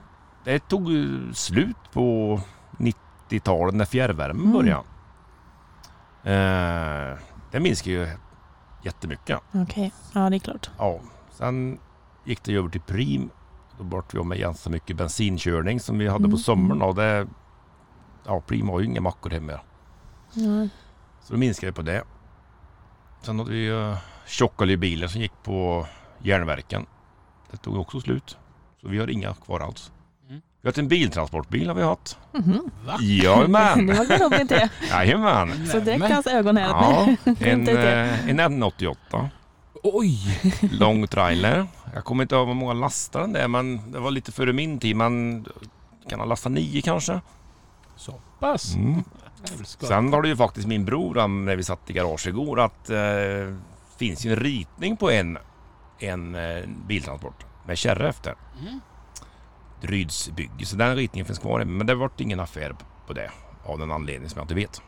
Speaker 4: det tog eh, slut på 90-talet när fjärrvärmen
Speaker 3: Mm.
Speaker 4: började. Eh, det minskar ju jättemycket.
Speaker 3: Okej, ja det är klart.
Speaker 4: Ja, sen gick det ju över till prim. Då vart vi av med ganska mycket bensinkörning som vi hade
Speaker 3: Mm.
Speaker 4: på sommaren. Och det, ja, prim har ju inga mackor hemma.
Speaker 3: Ja.
Speaker 4: Så då minskade vi på det. Sen hade vi ju tjockoljebilar som gick på järnverken. Det tog också slut. Så vi har inga kvar alls.
Speaker 2: Mm.
Speaker 4: Vi har haft en biltransportbil har vi haft.
Speaker 3: Mhm.
Speaker 4: Ah.
Speaker 2: Va?
Speaker 3: Det
Speaker 4: Jajamän!
Speaker 3: var väl roligt det.
Speaker 4: Jajamän!
Speaker 3: Så direkt i
Speaker 2: Nämen.
Speaker 3: hans ögon här.
Speaker 4: Ja, en,
Speaker 3: Inte ut det.
Speaker 4: eh, en N88.
Speaker 2: Oj!
Speaker 4: Lång trailer. Jag kommer inte ihåg hur många lastar den där men det var lite före min tid. Men kan ha lastat nio kanske.
Speaker 2: Så pass?
Speaker 4: Mm.
Speaker 2: Jävligt skoj.
Speaker 4: Sen har det ju faktiskt min bror han, när vi satt i garage igår att eh, finns ju en ritning på en, en eh, biltransport med kärra efter.
Speaker 2: Mm.
Speaker 4: Dryds bygge. Så den ritningen finns kvar men det vart ingen affär p- på det av den anledning som jag inte vet.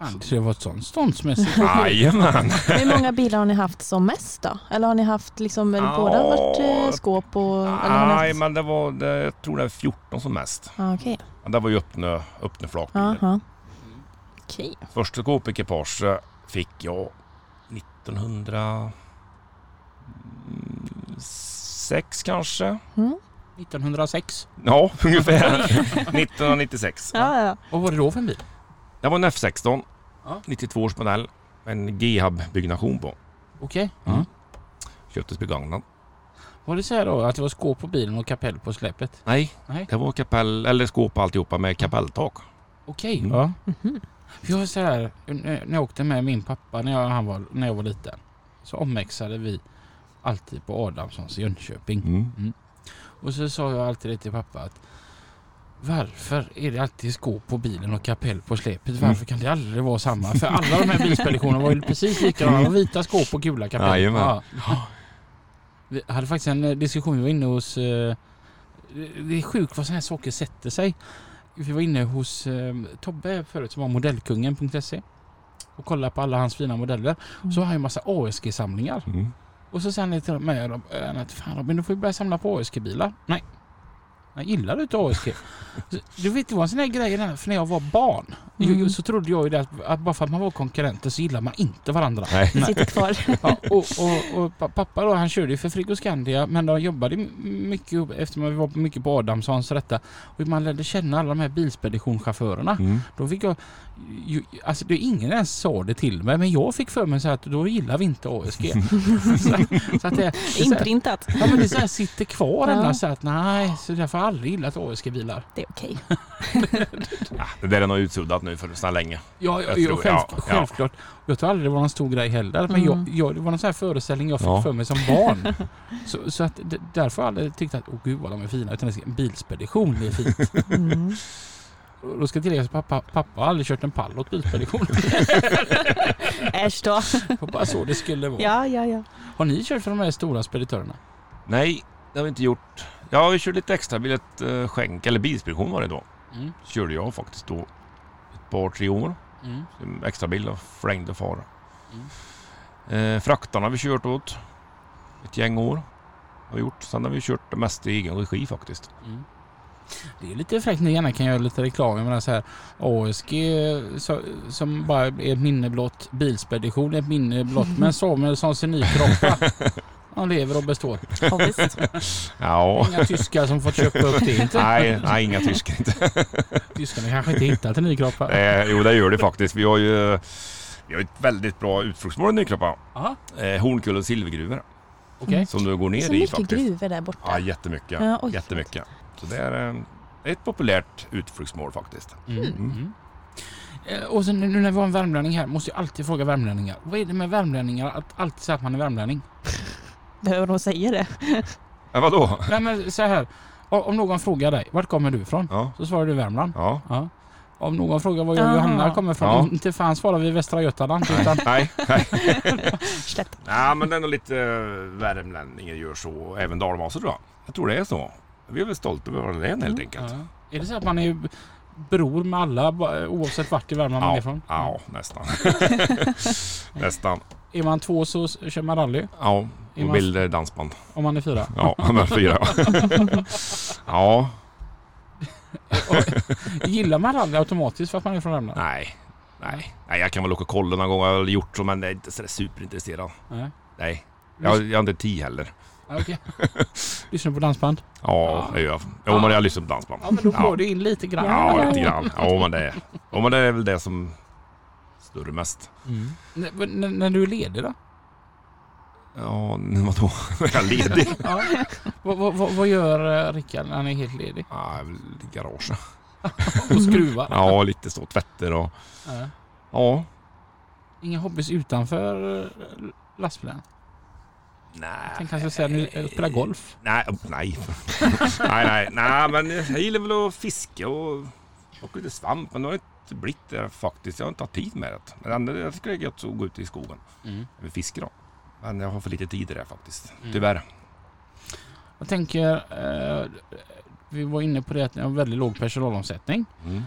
Speaker 2: Fan, Det var ett sånt ståndsmässigt.
Speaker 4: Jajamän!
Speaker 3: Hur många bilar har ni haft som mest då? Eller har ni haft liksom, eller båda har varit eh, skåp och... eller har ni haft-
Speaker 4: Nej men det var, det, jag tror det var 14 som mest.
Speaker 3: Ja, Okej.
Speaker 4: Men det var ju öppna, öppna flakbilar.
Speaker 3: Aha. Okej.
Speaker 4: Första kåpekipage fick jag 1906 kanske.
Speaker 3: Mm.
Speaker 2: 1906.
Speaker 4: Ja, ungefär. 1996.
Speaker 3: Ja, ja.
Speaker 2: Vad var det då för en bil?
Speaker 4: Det var en F16.
Speaker 2: Ja.
Speaker 4: 92 års modell. En G-hub-byggnation på.
Speaker 2: Okej.
Speaker 4: Mm. Köptes begagnad.
Speaker 2: Var det så här då att det var skåp på bilen och kapell på släpet?
Speaker 4: Nej,
Speaker 2: Nej.
Speaker 4: det var kapell, eller skåp och alltihopa med kapelltak.
Speaker 2: Okej.
Speaker 4: Mm.
Speaker 2: Ja.
Speaker 3: Mhm.
Speaker 2: För Jag var så här, när när jag åkte med min pappa när jag, han var, när jag var liten så omväxlade vi alltid på Adamssons i Jönköping.
Speaker 4: Mm.
Speaker 2: Och så sa jag alltid det till pappa att varför är det alltid skåp på bilen och kapell på släpet? Varför
Speaker 4: Mm.
Speaker 2: kan det aldrig vara samma? För alla de här bilspeditionerna var ju precis likadana. Det var Vita skåp och gula kapell.
Speaker 4: Mm. Jajamän.
Speaker 2: Ja. Vi hade faktiskt en eh, diskussion, vi var inne hos... eh, Det är sjukt vad sådana här saker sätter sig. Vi var inne hos eh, Tobbe förut som var modellkungen.se E och kollade på alla hans fina modeller. Så har han ju massa ASG-samlingar.
Speaker 4: Mm.
Speaker 2: Och så sen till mig Rob- eh, att fan Robin, du får ju börja samla på ASG-bilar. Nej. Jag gillar du inte ASG? Så, Du vet, det var en sån här grej, där, för när jag var barn ju-
Speaker 3: Mm.
Speaker 2: så trodde jag ju det att, att bara för att man var konkurrenter så gillar man inte varandra.
Speaker 4: Nej.
Speaker 3: Det sitter kvar.
Speaker 2: Ja, och, och, och pa- pappa då, han körde ju för Frigg och Skandia men de jobbade m- mycket upp- eftersom vi var mycket på Adamssons och detta. Och man lärde känna alla de här bilspeditionschaufförerna.
Speaker 4: Mm.
Speaker 2: Då fick jag... Ju, alltså det, ingen ens sa det till mig men jag fick för mig så här att då gillar vi inte ASG. så, så att det, det är så här-
Speaker 3: Inprintat.
Speaker 2: Ja men det så här sitter kvar
Speaker 3: Ja.
Speaker 2: annars så att nej, så därför har jag aldrig gillat ASG-bilar.
Speaker 3: Det är okej.
Speaker 4: Ja, det där är nog utsuddat nu för så länge.
Speaker 2: Ja,
Speaker 4: Jag
Speaker 2: jag, jag,
Speaker 4: tror-
Speaker 2: själv,
Speaker 4: ja, ja.
Speaker 2: självklart. Jag tror aldrig det var någon stor grej heller. Men
Speaker 3: Mm.
Speaker 2: jag, jag, det var någon sån här föreställning jag fick
Speaker 4: Ja.
Speaker 2: för mig som barn. så, så att d- därför har jag aldrig tyckt att åh gud vad de är fina. Utan det ska- en bilspedition är fint.
Speaker 3: Mm.
Speaker 2: Och Då ska tilläggas att pappa, pappa har aldrig kört en pall åt bilspedition.
Speaker 3: Äsch då.
Speaker 2: det var bara så det skulle vara.
Speaker 3: Ja, ja, ja.
Speaker 2: Har ni kört för de här stora speditörerna?
Speaker 4: Nej, det har vi inte gjort. Ja, vi körde lite extra bil, ett eh, skänk, eller bilspedition var det då.
Speaker 2: Mm.
Speaker 4: Körde jag faktiskt då ett par, tre år.
Speaker 2: Mm.
Speaker 4: En extrabil och flängde fara.
Speaker 2: Mm.
Speaker 3: Mm.
Speaker 4: Eh, fraktarna har vi kört åt ett gäng år. Har vi gjort. Sen har vi kört det mesta i egen regi faktiskt.
Speaker 2: Mm. Det är lite fräckt. Ni gärna kan göra lite reklam. Jag menar så här, ASG så, som bara är ett minne blott. Bilspedition är ett minne blott. Men Samuelssons är nykroppad. Han lever och består.
Speaker 3: ja visst.
Speaker 4: Ja.
Speaker 2: Inga tyskar som fått köpa upp det. Inte.
Speaker 4: Nej, nej, inga tyskar inte.
Speaker 2: Tyskarna kanske inte hittat en nykroppad.
Speaker 4: Eh, jo, det gör det faktiskt. Vi har ju vi har ett väldigt bra utfluktsmål i Nykroppa.
Speaker 2: Aha,
Speaker 4: Eh, Hornkulla och silvergruvor
Speaker 2: okej.
Speaker 4: som du går ner
Speaker 3: Så
Speaker 4: i
Speaker 3: mycket
Speaker 4: faktiskt.
Speaker 3: gruvor där borta.
Speaker 4: Ja, jättemycket.
Speaker 3: Ja, oj.
Speaker 4: jättemycket. Så det är, eh, det är ett populärt utfluktsmål faktiskt.
Speaker 2: Mm. Mm. Eh, Och sen nu när vi har en värmlänning här måste jag alltid fråga värmlänningar. Vad är det med värmlänningar att alltid säga att man är värmlänning?
Speaker 3: Behöver de säga det?
Speaker 4: Ja, Eh, vadå?
Speaker 2: Nej men så här. O- Om någon frågar dig, vart kommer du ifrån?
Speaker 4: Ja.
Speaker 2: Så svarar du Värmland.
Speaker 4: Ja.
Speaker 2: Ja. Om någon frågar var jag och Johanna
Speaker 3: Aha.
Speaker 2: kommer ifrån,
Speaker 4: Ja.
Speaker 2: inte fan svarar vi Västra Götaland. Utan,
Speaker 4: Nej, nej.
Speaker 3: Slätt.
Speaker 4: nej, men ändå lite eh, värmlänningar gör så. Även dalmasar tror jag. Jag tror det är så. Vi är väl stolta över våra län
Speaker 2: Mm.
Speaker 4: helt enkelt.
Speaker 2: Ja. Är det så att man är bror med alla ba- oavsett vart i Värmland man är
Speaker 4: ja,
Speaker 2: ifrån?
Speaker 4: ja, nästan. nästan.
Speaker 2: Är man två så s- kör man rally
Speaker 4: Ja,
Speaker 2: Är
Speaker 4: och
Speaker 2: man-
Speaker 4: bilder dansband.
Speaker 2: om man är fyra.
Speaker 4: Ja, men fyra. ja,
Speaker 2: Gillar man rally automatiskt för att man är från Värmland?
Speaker 4: nej. Nej, nej jag kan väl åka och kolla någon gång. Jag har väl gjort så, men jag är inte sådär superintresserad.
Speaker 2: Nej.
Speaker 4: Nej, jag, jag har inte tid heller.
Speaker 2: Ja, Okej. Lyssnar på dansband?
Speaker 4: Ja, det gör jag. Jo, men jag lyssnar på dansband.
Speaker 2: Ja, men då
Speaker 4: Ja.
Speaker 2: går det in lite grann.
Speaker 4: Ja, lite grann. Ja, men det, ja, men det är väl det som större mest.
Speaker 2: Mm. N- men n- när du är ledig då?
Speaker 4: Ja, men vadå? Är jag ledig?
Speaker 2: Ja. vad, vad, vad, vad gör eh, Rickard när han är helt ledig?
Speaker 4: Ja, jag är väl i garaget.
Speaker 2: Och skruvar?
Speaker 4: Ja, lite så. Tvätter och...
Speaker 2: Ja.
Speaker 4: Ja.
Speaker 2: Inga hobbys utanför eh, lastbilen?
Speaker 4: Nej.
Speaker 2: Tänk kanske säga nu eh, spela golf?
Speaker 4: Nej, upp- nej. nej, nej, nej, men jag gillar väl att fiska och plocka lite svamp. Men det har inte blivit det faktiskt. Jag har inte haft tid med det. Men det- jag tycker det är gött att gå ut i skogen. Vi fiskar då. Men jag har för lite tid i det faktiskt.
Speaker 2: Mm.
Speaker 4: Tyvärr.
Speaker 2: Jag tänker, eh, vi var inne på det att ni har väldigt låg personalomsättning.
Speaker 4: Mm.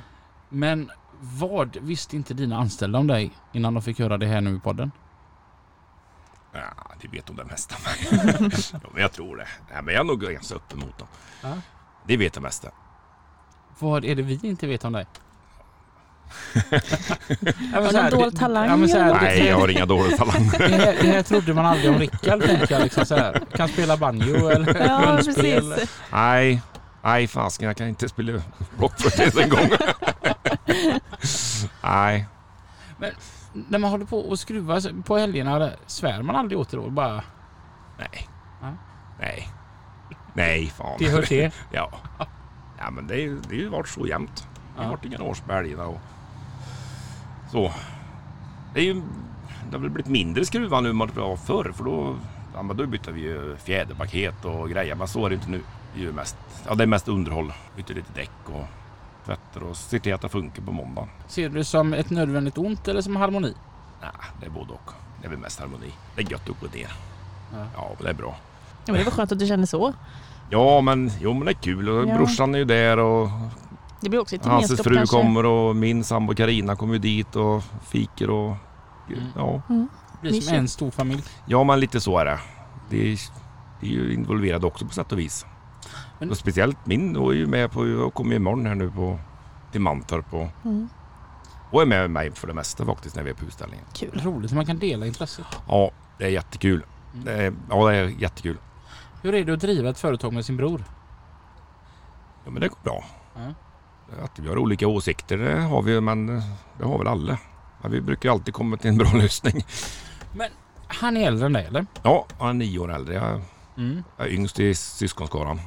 Speaker 2: Men vad visste inte dina anställda om dig innan de fick höra det här nu i podden?
Speaker 4: Ja, det vet de det mesta. ja, men jag tror det. Nej, men jag är nog ganska öppen mot dem.
Speaker 2: Ja.
Speaker 4: Det vet de mesta.
Speaker 2: Vad är det vi inte vet om dig?
Speaker 3: Har du en dold talang,
Speaker 2: Ja, men så här,
Speaker 3: eller?
Speaker 4: Nej, jag har inga dåliga talanger.
Speaker 2: det, det, här- det här trodde man aldrig om Rickard, tänker jag. Liksom så här. Kan spela banjo eller
Speaker 3: Ja,
Speaker 2: munspel.
Speaker 3: precis.
Speaker 4: Nej, nej fasken. Jag kan inte spela rockflöjt en gång. nej.
Speaker 2: När man håller på och skruvar så- på helgerna, svär man aldrig åt det då? Bara,
Speaker 4: Nej.
Speaker 2: Ja.
Speaker 4: Nej. Nej, fan.
Speaker 2: det hör till.
Speaker 4: Ja. Ja, men det, är ju- det har ju varit så jämnt. Det har
Speaker 2: Ja.
Speaker 4: varit inga årsbälgar och så. Det är ju... Det har väl blivit mindre skruvar nu än vad det var förr för då... Ja, men då bytte vi ju fjäderpaket och grejer men så är det inte nu. Det är ju mest... Ja, det är mest underhåll. Byter lite däck och tvätter och ser till att det funkar på måndagen.
Speaker 2: Ser du det som ett nödvändigt ont eller som harmoni?
Speaker 4: Nej, det är både och. Det är väl mest harmoni. Det är gött att gå ner.
Speaker 2: Ja.
Speaker 4: Ja, men det är bra.
Speaker 3: Ja, men det var skönt att du kände så.
Speaker 4: Ja, men jo, men det är kul. Och
Speaker 3: Ja.
Speaker 4: Brorsan är ju där och
Speaker 3: Det blir också ett
Speaker 4: hans
Speaker 3: gemenskap
Speaker 4: fru
Speaker 3: kanske.
Speaker 4: kommer och min sambo Karina kommer ju dit och fikar och
Speaker 2: Mm.
Speaker 4: ja.
Speaker 2: Det blir som
Speaker 3: Mysigt.
Speaker 2: en stor familj.
Speaker 4: ja, men lite så är det. Det är, det är ju involverade också på sätt och vis.
Speaker 2: Men-
Speaker 4: Och speciellt min då är ju med på, jag kommer ju imorgon här nu på, till Mantorp och,
Speaker 3: Mm,
Speaker 4: och är med mig för det mesta faktiskt när vi är på utställningen.
Speaker 3: kul.
Speaker 2: Roligt att man kan dela intresset.
Speaker 4: Ja, det är jättekul.
Speaker 2: Mm.
Speaker 4: Det är, ja, det är jättekul.
Speaker 2: Hur är det att driva ett företag med sin bror?
Speaker 4: Ja, men det går bra.
Speaker 2: Ja.
Speaker 4: Att vi har olika åsikter det har vi men det har väl alla. Men vi brukar ju alltid komma till en bra lösning.
Speaker 2: Han är äldre än dig eller?
Speaker 4: Ja, han är nio år äldre. Jag Jag är yngst i syskonskaran.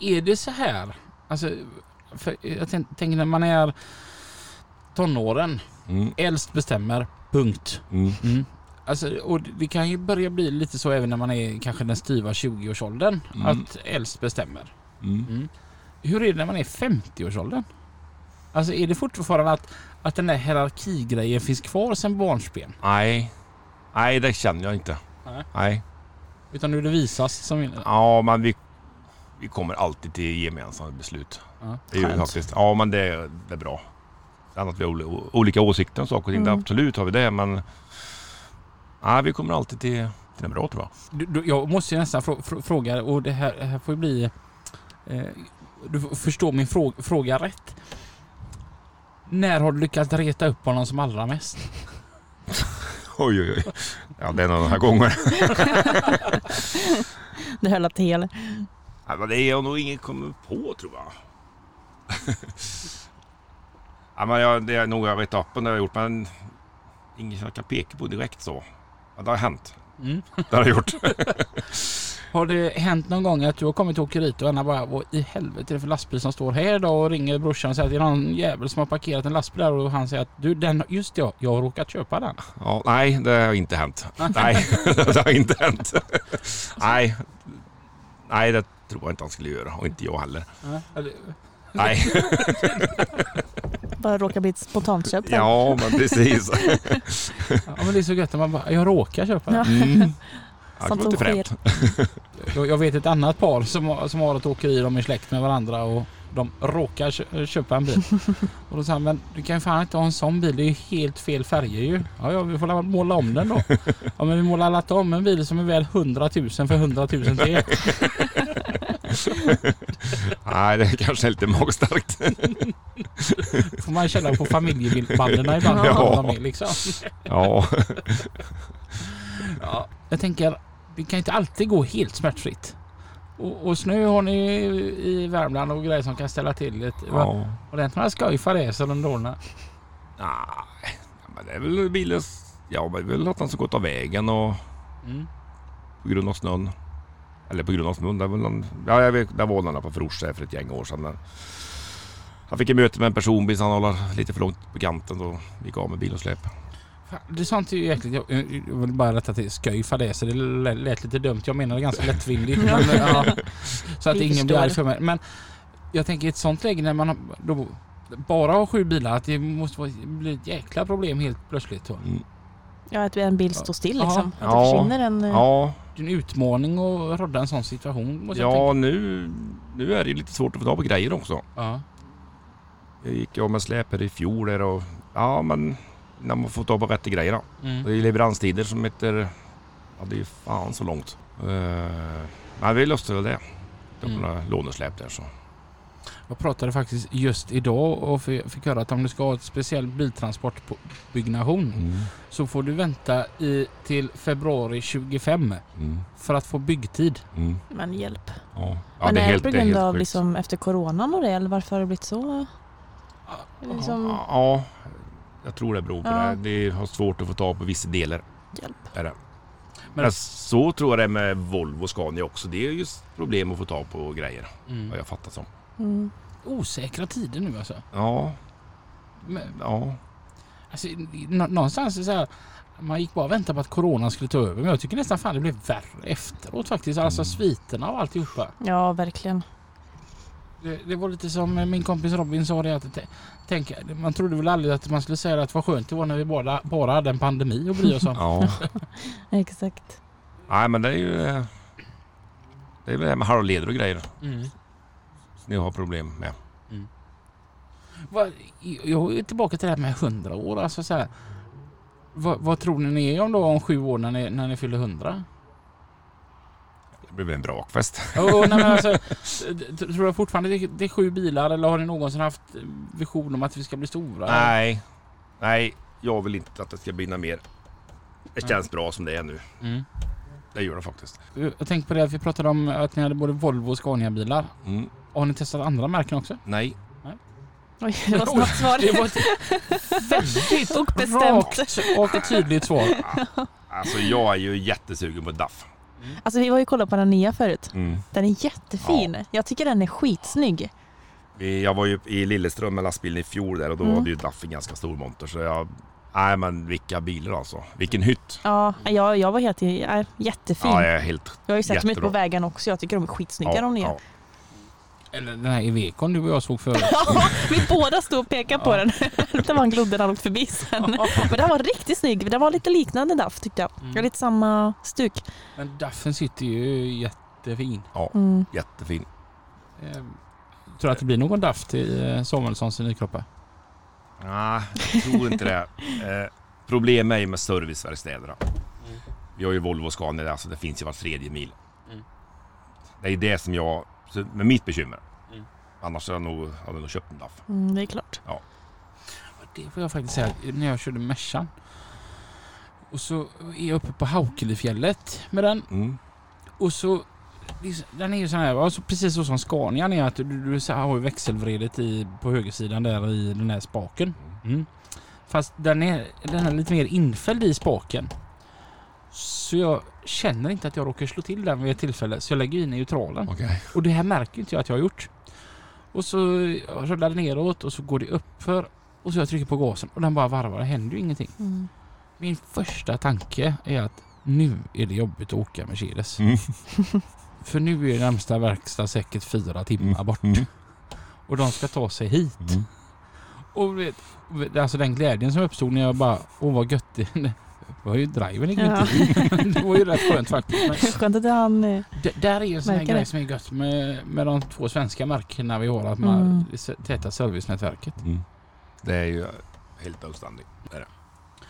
Speaker 2: Är det så här? Alltså, för jag tän- tänker när man är tonåren,
Speaker 4: Mm,
Speaker 2: äldst bestämmer, punkt.
Speaker 4: mm,
Speaker 2: Mm. Alltså, och det kan ju börja bli lite så även när man är kanske den styva 20-årsåldern,
Speaker 4: Mm.
Speaker 2: att äldst bestämmer.
Speaker 4: mm.
Speaker 2: Hur är det när man är 50-årsåldern? Alltså är det fortfarande att, att den där hierarkigrejen finns kvar sen barnsben?
Speaker 4: Nej. Nej, det känner jag inte.
Speaker 2: Nej.
Speaker 4: Nej.
Speaker 2: Utan nu det visas som...
Speaker 4: Ja, men vi, vi kommer alltid till gemensamma beslut.
Speaker 2: Ja.
Speaker 4: Det är ju
Speaker 3: Skönt.
Speaker 4: faktiskt. Ja, men det, är- det är bra. Sen att vi har oli- olika åsikter om saker och ting, det
Speaker 3: Mm.
Speaker 4: absolut har vi det, men... Nej, vi kommer alltid till, till det bra tror jag.
Speaker 2: Du, du, jag måste ju nästan frå, frå, fråga, och det här, det här får ju bli... Eh, du får förstå min frå, fråga rätt. När har du lyckats reta upp honom som allra mest?
Speaker 4: Oj, oj, oj. Ja, det är en av de här gångerna.
Speaker 3: Det höll att hel.
Speaker 4: Nej, men det är jag nog ingen kommer på tror jag. ja, men jag det är nog jag vet upp det har jag gjort men inget jag kan peka på direkt så. Ja, det har hänt.
Speaker 2: Mm.
Speaker 4: Det har jag gjort.
Speaker 2: Har det hänt någon gång att du har kommit till åkeriet och Anna bara Vad i helvete är det för lastbil som står här idag? Och ringer brorsan och säger att det är någon jävel som har parkerat en lastbil där och han säger att du den, just det, jag har råkat köpa den.
Speaker 4: Ja, nej, det har inte hänt. Nej, det har inte hänt. nej, nej det tror jag inte han skulle göra och inte jag heller.
Speaker 2: Ja, eller-
Speaker 4: Nej,
Speaker 3: Bara råkar bli ett spontant köp. sen.
Speaker 4: ja men precis.
Speaker 2: Ja, men det är så gött när man bara, jag råkar köpa.
Speaker 3: Ja.
Speaker 4: Mm. Ja, det
Speaker 3: Sånt
Speaker 4: var
Speaker 3: som
Speaker 4: inte
Speaker 3: sker.
Speaker 4: främt.
Speaker 2: Jag, jag vet ett annat par som, har- som har ett åkeri, de är släkt med varandra och de råkar kö- köpa en bil. Och då sa han, men du kan ju fan inte ha en sån bil, det är ju helt fel färger ju. Ja, ja vi får la- måla om den då. Ja, men vi målar alla om en bil som är väl 100 000 för 100 000 till.
Speaker 4: Nej, det är kanske är lite magstarkt.
Speaker 2: Får man känna på familjebanden ibland.
Speaker 4: Ja.
Speaker 2: Ja. Med, liksom.
Speaker 4: Ja,
Speaker 2: Ja, jag tänker, det kan inte alltid gå helt smärtfritt. Och, och snö har ni ju i Värmland och grejer som kan ställa till det.
Speaker 4: ja.
Speaker 2: Och det är inte några skojfar det så de dånar.
Speaker 4: Nej, men det är väl bilens... Ja, men det är väl att han ska gått av vägen och
Speaker 2: Mm.
Speaker 4: på grund av snön. Eller på grund av snön, det är väl någon, Ja, jag vet, där var någon på Frorsa för ett gäng år sedan. Men han fick ett möte med en personbil så han håller lite för långt på kanten och gick av med bil och släp.
Speaker 2: Mm. Fan, Det sa inte ju egentligen, jag, jag jag vill bara rätta till skoj för det så det lät lät lite dumt. Jag menade ganska lättvindigt. men, ja, så att
Speaker 3: Vi
Speaker 2: ingen blir
Speaker 3: förstår.
Speaker 2: arg för mig. Men jag tänker i ett sånt läge när man har- då, bara har sju bilar att det måste vara- bli ett jäkla problem helt plötsligt. Då.
Speaker 4: Mm.
Speaker 3: Ja, att en bil står still liksom.
Speaker 4: Ja.
Speaker 3: Att det försvinner en... eh,
Speaker 4: Ja,
Speaker 2: Det är en utmaning att rodda en sån situation. Måste jag tänka.
Speaker 4: ja nu, nu är det ju lite svårt att få tag på grejer också.
Speaker 2: Ja.
Speaker 4: Jag gick av med släp här i fjol där och... Ja, men när man får tag på rätt grejer då.
Speaker 2: Mm.
Speaker 4: Det är leveranstider som heter... Ja, det är fan så långt. Uh, men vi löste väl det. Det var
Speaker 2: Mm.
Speaker 4: några lånesläp där så.
Speaker 2: Jag pratade faktiskt just idag och fi- fick höra att om du ska ha ett speciell biltransportbyggnation
Speaker 4: Mm.
Speaker 2: så får du vänta i, till februari 25
Speaker 4: Mm.
Speaker 2: för att få byggtid.
Speaker 4: Mm.
Speaker 3: Men hjälp.
Speaker 4: Ja.
Speaker 3: men
Speaker 4: det
Speaker 3: är
Speaker 4: är
Speaker 3: det
Speaker 4: helt,
Speaker 3: på
Speaker 4: det är helt
Speaker 3: grund av
Speaker 4: sjukt.
Speaker 3: liksom, efter coronan och det eller varför har det blivit så? Liksom,
Speaker 4: Ja, ja, jag tror det beror på
Speaker 3: Ja.
Speaker 4: det. Det har svårt att få tag på vissa delar.
Speaker 3: Hjälp.
Speaker 4: Är det.
Speaker 2: Men-
Speaker 4: Men, så tror jag det är med Volvo och Scania också. Det är just problem att få tag på grejer. Vad
Speaker 2: Mm.
Speaker 4: jag fattar som.
Speaker 3: Mm.
Speaker 2: Osäkra tider nu alltså.
Speaker 4: Ja,
Speaker 2: Men,
Speaker 4: ja.
Speaker 2: alltså nå- någonstans är det så här, man gick bara och väntade på att coronan skulle ta över men jag tycker nästan fan det blev värre efteråt faktiskt. Alltså
Speaker 4: Mm.
Speaker 2: sviterna och alltihopa.
Speaker 3: ja, verkligen.
Speaker 2: Det, det var lite som min kompis Robin sa det att t- tänk, man trodde väl aldrig att man skulle säga att vad skönt det var när vi bara, bara hade en pandemi att bry oss om.
Speaker 4: ja.
Speaker 3: Exakt.
Speaker 4: Nej, men det är ju... eh, Det är väl det här med halvleder och grejer.
Speaker 2: Mm.
Speaker 4: Som jag har problem med.
Speaker 2: Vad, jag är tillbaka till det här med 100 år. Alltså så här, vad, vad tror ni ni är om då om sju år när ni, när ni fyller 100?
Speaker 4: Det blir väl en brakfest.
Speaker 2: Och, och, nej, men alltså, t- tror jag fortfarande det, det är sju bilar eller har ni någonsin haft vision om att vi ska bli stora?
Speaker 4: Nej. Nej, jag vill inte att det ska brinna mer. Det känns bra som det är nu.
Speaker 2: Mm.
Speaker 4: Det gör det faktiskt.
Speaker 2: Jag tänkte på det att vi pratade om att ni hade både Volvo och Scania-bilar.
Speaker 4: Mm.
Speaker 2: Har ni testat andra märken också?
Speaker 4: Nej.
Speaker 3: Oj, det var snabbt svar.
Speaker 2: Det var ett väldigt
Speaker 3: Och bestämt.
Speaker 2: rakt och tydligt svar.
Speaker 4: Alltså jag är ju jättesugen på DAF.
Speaker 3: Alltså vi var ju och kollade på den nya förut.
Speaker 4: Mm.
Speaker 3: Den är jättefin. Jag tycker den är skitsnygg.
Speaker 4: Vi, jag var ju i Lilleström med lastbilen i fjol där och då
Speaker 3: Mm.
Speaker 4: var det ju DAF en ganska stor monter. Så jag... Nej men vilka bilar alltså. Vilken hytt.
Speaker 3: Ja, jag, jag var helt i, nej, jättefin.
Speaker 4: Ja, jag är helt...
Speaker 3: jag har ju sett dem ute på
Speaker 4: jättebra.
Speaker 3: vägen också. Jag tycker de är skitsnygga de nya.
Speaker 2: Eller den här Evecon du och jag såg förut.
Speaker 3: Vi båda stod och pekade på
Speaker 2: Ja.
Speaker 3: den. det var en glodde när han åkte förbi sen. Men den var riktigt snygg. Den var lite liknande DAF tyckte jag.
Speaker 2: Mm.
Speaker 3: Det var Lite samma stuk.
Speaker 2: Men Daffen sitter ju jättefin.
Speaker 3: Mm.
Speaker 4: Jättefin.
Speaker 2: Eh, tror du att det blir någon Daff till eh, Samuelssons i Nykroppa?
Speaker 4: Nej, jag tror inte det. Eh, problemet är ju med serviceverkstäderna. Vi har ju Volvo och Scania där, så det finns ju var tredje mil.
Speaker 2: Mm.
Speaker 4: Det är det som jag... så- Med mitt bekymmer.
Speaker 2: Mm.
Speaker 4: Annars hade jag nog, hade jag nog köpt en DAF.
Speaker 3: Mm, det är klart.
Speaker 2: Det får jag faktiskt säga, när jag körde Mercan. Och så är jag uppe på Haukelifjället med den
Speaker 4: Mm.
Speaker 2: och så den är ju sån här, alltså precis så som Scanian är att du, du så här har ju växelvredet i, på högersidan där i den här spaken. Mm. Fast den är, den är lite mer infälld i spaken. Så jag känner inte att jag råkar slå till den vid ett tillfälle så jag lägger in neutralen.
Speaker 4: Okej.
Speaker 2: Och det här märker inte jag att jag har gjort. Och så rullar det neråt och så går det uppför. Och så jag trycker på gasen och den bara varvar. Det händer ju ingenting.
Speaker 3: Mm.
Speaker 2: Min första tanke är att nu är det jobbigt att åka Mercedes.
Speaker 4: Mm.
Speaker 2: För nu är närmsta verkstad säkert fyra timmar
Speaker 4: Mm.
Speaker 2: bort.
Speaker 4: Mm.
Speaker 2: Och de ska ta sig hit.
Speaker 4: Mm.
Speaker 2: Och du vet, alltså den glädjen som uppstod när jag bara, åh vad gött det det var ju driven gick ju
Speaker 3: Ja.
Speaker 2: inte in. Det var ju rätt skönt faktiskt. Men
Speaker 3: Skönt att han... eh,
Speaker 2: d- där är ju en sån här
Speaker 3: Verkar
Speaker 2: grej
Speaker 3: det.
Speaker 2: som är gött med, med de två svenska markerna vi har, att man
Speaker 3: Mm.
Speaker 2: det s- täta servicenätverket.
Speaker 4: Mm. Det är ju eh, helt outstanding. Det är det.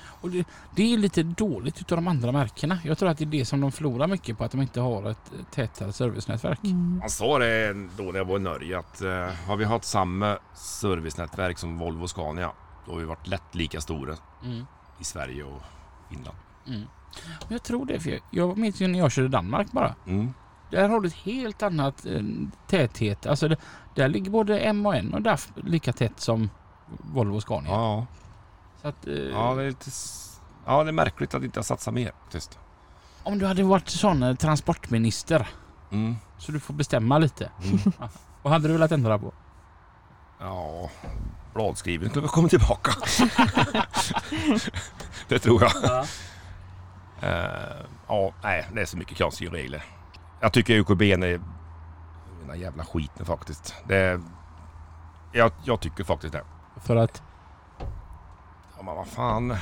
Speaker 2: Och det, det är ju lite dåligt utav de andra märkena. Jag tror att det är det som de förlorar mycket på, att de inte har ett eh, tätare servicenätverk.
Speaker 3: Mm.
Speaker 4: Han sa det då när jag var i Norge att eh, har vi haft samma servicenätverk som Volvo och Scania då har vi varit lätt lika stora
Speaker 2: Mm.
Speaker 4: i Sverige och Finland.
Speaker 2: Mm. Men jag tror det, för jag, jag minns ju när jag körde Danmark bara.
Speaker 4: Mm.
Speaker 2: Där har du ett helt annat eh, täthet. Alltså det, där ligger både M och N och DAF lika tätt som Volvo och Scania.
Speaker 4: Ja,
Speaker 2: Så att, eh,
Speaker 4: ja, det är lite... s- ja, det är märkligt att inte jag satsar mer. Tyst.
Speaker 2: Om du hade varit sån eh, transportminister
Speaker 4: Mm.
Speaker 2: så du får bestämma lite.
Speaker 4: Mm.
Speaker 2: Vad hade du velat ändra på?
Speaker 4: Ja, bladskrivaren skulle väl komma tillbaka. det tror jag.
Speaker 2: Ja.
Speaker 4: Eh, ja, nej, det är så mycket konstiga regler. Jag tycker UKB är den jävla skiten faktiskt. Det är, jag, jag tycker faktiskt det.
Speaker 2: För att...
Speaker 4: Ja, men vad fan.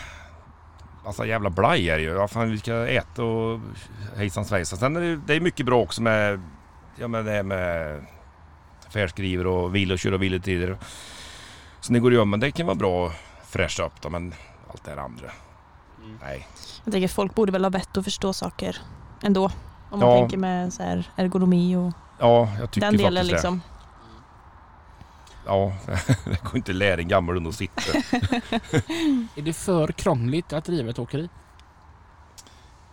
Speaker 4: Massa jävla blaj är det ju. Vad fan, vi ska äta och hejsan svejsan. Sen är det, det är mycket bra också med, ja, men det här med färdskriver och vilo, kör och vilotider. Så det går ju om, men det kan vara bra att fräscha upp då, men allt det här andra. Nej.
Speaker 3: Jag tänker folk borde väl ha vett att förstå saker ändå. Om man
Speaker 4: Ja.
Speaker 3: tänker med så här ergonomi och
Speaker 4: Ja, jag tycker
Speaker 3: den delen
Speaker 4: faktiskt
Speaker 3: liksom.
Speaker 4: det. Ja, det går inte att lära en gammal hund att sitta.
Speaker 2: Är det för krångligt att driva ett åkeri?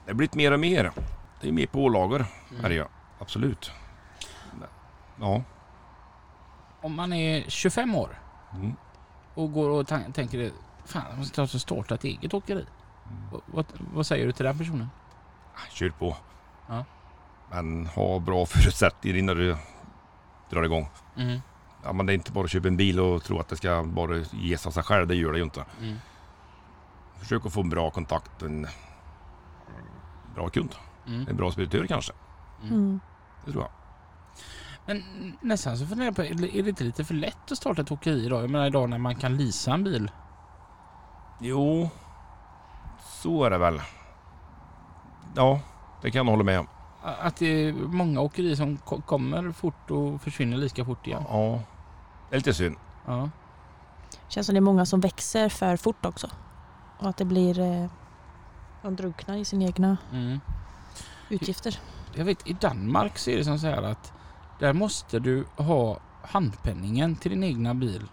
Speaker 4: Det har blivit mer och mer. Det är mer pålagor, är
Speaker 2: Mm.
Speaker 4: det ju. Absolut. Ja.
Speaker 2: Om man är 25 år
Speaker 4: Mm.
Speaker 2: och går och tan- tänker det, fan jag måste ta och starta ett eget åkeri. Vad, vad, vad säger du till den personen?
Speaker 4: Ah, Kör på.
Speaker 2: Ja.
Speaker 4: Men ha bra förutsättningar innan du drar igång.
Speaker 2: Mm,
Speaker 4: Ja, men det är inte bara att köpa en bil och tro att det ska bara ge sig av sig själv. Det gör det ju inte.
Speaker 2: Mm.
Speaker 4: Försök att få en bra kontakt, en bra kund.
Speaker 2: Mm.
Speaker 4: En bra speditör kanske.
Speaker 3: Mm.
Speaker 4: Det tror jag.
Speaker 2: Men nästan så funderar jag på, är det är det inte lite för lätt att starta ett åkeri idag? Jag menar idag när man kan leasa en bil.
Speaker 4: Jo, så är det väl. Ja, det kan jag hålla med om.
Speaker 2: Att det är många åkerier som ko- kommer fort och försvinner lika fort igen.
Speaker 4: Ja. Det är lite synd.
Speaker 2: Ja.
Speaker 3: Känns som det är många som växer för fort också. Och att det blir... eh, De drunknar i sina egna
Speaker 2: Mm.
Speaker 3: utgifter.
Speaker 2: Jag vet, i Danmark så är det som så här att där måste du ha handpenningen till din egna bil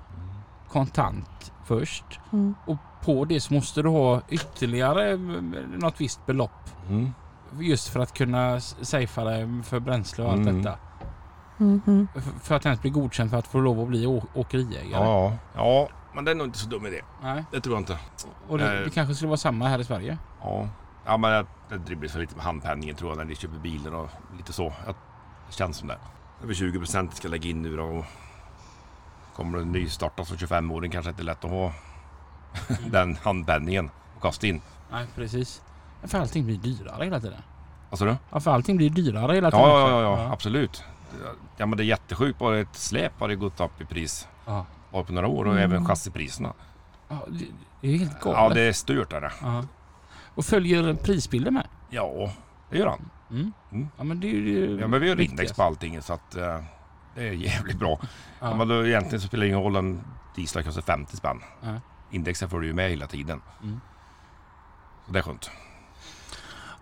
Speaker 2: kontant först.
Speaker 3: Mm.
Speaker 2: Och på det så måste du ha ytterligare mm, något visst belopp.
Speaker 4: Mm.
Speaker 2: Just för att kunna s- safea dig för bränsle och allt
Speaker 4: Mm.
Speaker 2: detta.
Speaker 3: Mm. Mm.
Speaker 2: F- För att ens bli godkänd för att få lov att bli å- åkeriägare.
Speaker 4: Ja, ja, men det är nog inte så dum idé.
Speaker 2: Nej.
Speaker 4: Det tror jag inte.
Speaker 2: Och det,
Speaker 4: Eh.
Speaker 2: det kanske skulle vara samma här i Sverige.
Speaker 4: Ja, ja men jag, det dribblar sig lite med handpenningen tror jag när ni köper bilen och lite så. Jag, det känns som det. Över 20 procent ska jag lägga in nu då. Och kommer du nystarta som 25-åring kanske inte är lätt att ha den handpenningen och kasta in.
Speaker 2: Nej, precis. För allting blir dyrare hela tiden.
Speaker 4: Vad sa du? Ja,
Speaker 2: Ja, för allting blir dyrare hela tiden.
Speaker 4: ja, ja,
Speaker 2: också.
Speaker 4: ja, absolut. Ja, men det är jättesjukt. Bara ett släp har det gått upp i pris
Speaker 2: Ja.
Speaker 4: bara på några år och
Speaker 3: Mm.
Speaker 4: även chassipriserna.
Speaker 2: Ja, det, det är helt galet.
Speaker 4: Ja, det är stört är det.
Speaker 2: Ja. Och följer prisbilden med.
Speaker 4: Ja, det gör han.
Speaker 2: Mm.
Speaker 4: Mm.
Speaker 2: Ja, men det är ju
Speaker 4: Ja men vi har
Speaker 2: viktigast.
Speaker 4: index på allting så att eh, det är jävligt bra. Ja.
Speaker 2: Ja.
Speaker 4: Men då, egentligen så spelar det ingen roll om dieslar kostar 50 spänn.
Speaker 2: Ja.
Speaker 4: Indexen följer ju med hela tiden.
Speaker 2: Mm.
Speaker 4: Så det är skönt.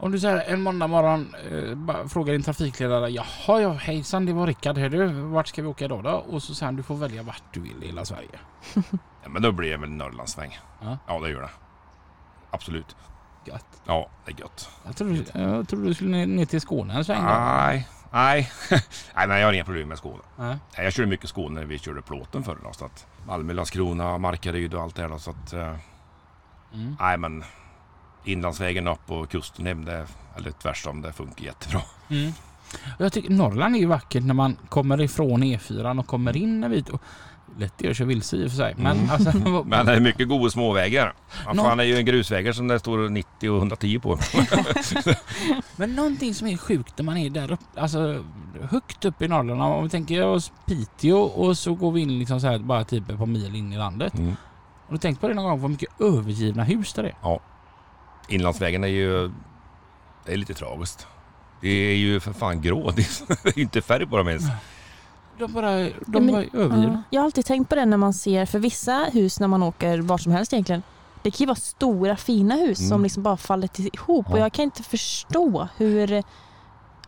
Speaker 2: Om du säger en måndag morgon eh, bara frågar din trafikledare Jaha ja hejsan det var Rickard här du. Vart ska vi åka idag då? Och så säger han du får välja vart du vill i hela Sverige.
Speaker 4: Ja, men då blir det väl Norrlandssväng.
Speaker 2: Ja.
Speaker 4: Ja det gör det. Absolut.
Speaker 2: Gött.
Speaker 4: Ja det är gött. Ah.
Speaker 2: Jag tror, jag tror du skulle ner- ner till Skåne en sväng. då.
Speaker 4: Nej. Nej. Nej men jag har inga problem med Skåne.
Speaker 2: Ja.
Speaker 4: Nej, jag körde mycket Skåne när vi körde plåten förr. Då, så att Malmö, Landskrona, Markaryd och allt det där. Då, så att, eh,
Speaker 2: Mm.
Speaker 4: nej men inlandsvägen upp och kusten hem. Det, eller tvärtom. Det funkar jättebra.
Speaker 2: Mm. E Och Jag tycker Norrland är ju vackert när man kommer ifrån E4 och kommer in en bit. Och lätt är att köra vilse i och för sig. Men
Speaker 4: Mm.
Speaker 2: alltså... vad-
Speaker 4: Men det är mycket goda småvägar. Ja,
Speaker 2: Nå-
Speaker 4: fan, det är ju en grusvägar som det står 90 och 110 på.
Speaker 2: Men någonting som är sjukt när man är där uppe, alltså högt upp i Norrland. Om vi tänker oss Piteå och så går vi in liksom så här bara typ ett par mil in i landet.
Speaker 4: Mm.
Speaker 2: Har du tänkt på det någon gång vad mycket övergivna hus det är?
Speaker 4: Inlandsvägen är ju... Det är lite tragiskt. Det är ju för fan grå. Det är inte färg på dem ens.
Speaker 2: De bara, de
Speaker 3: men-
Speaker 2: bara är övergivna.
Speaker 3: Ja. Jag har alltid tänkt på det när man ser, för vissa hus när man åker vart som helst egentligen, det kan ju vara stora fina hus
Speaker 4: Mm.
Speaker 3: som liksom bara faller till- ihop
Speaker 4: Ja.
Speaker 3: och jag kan inte förstå hur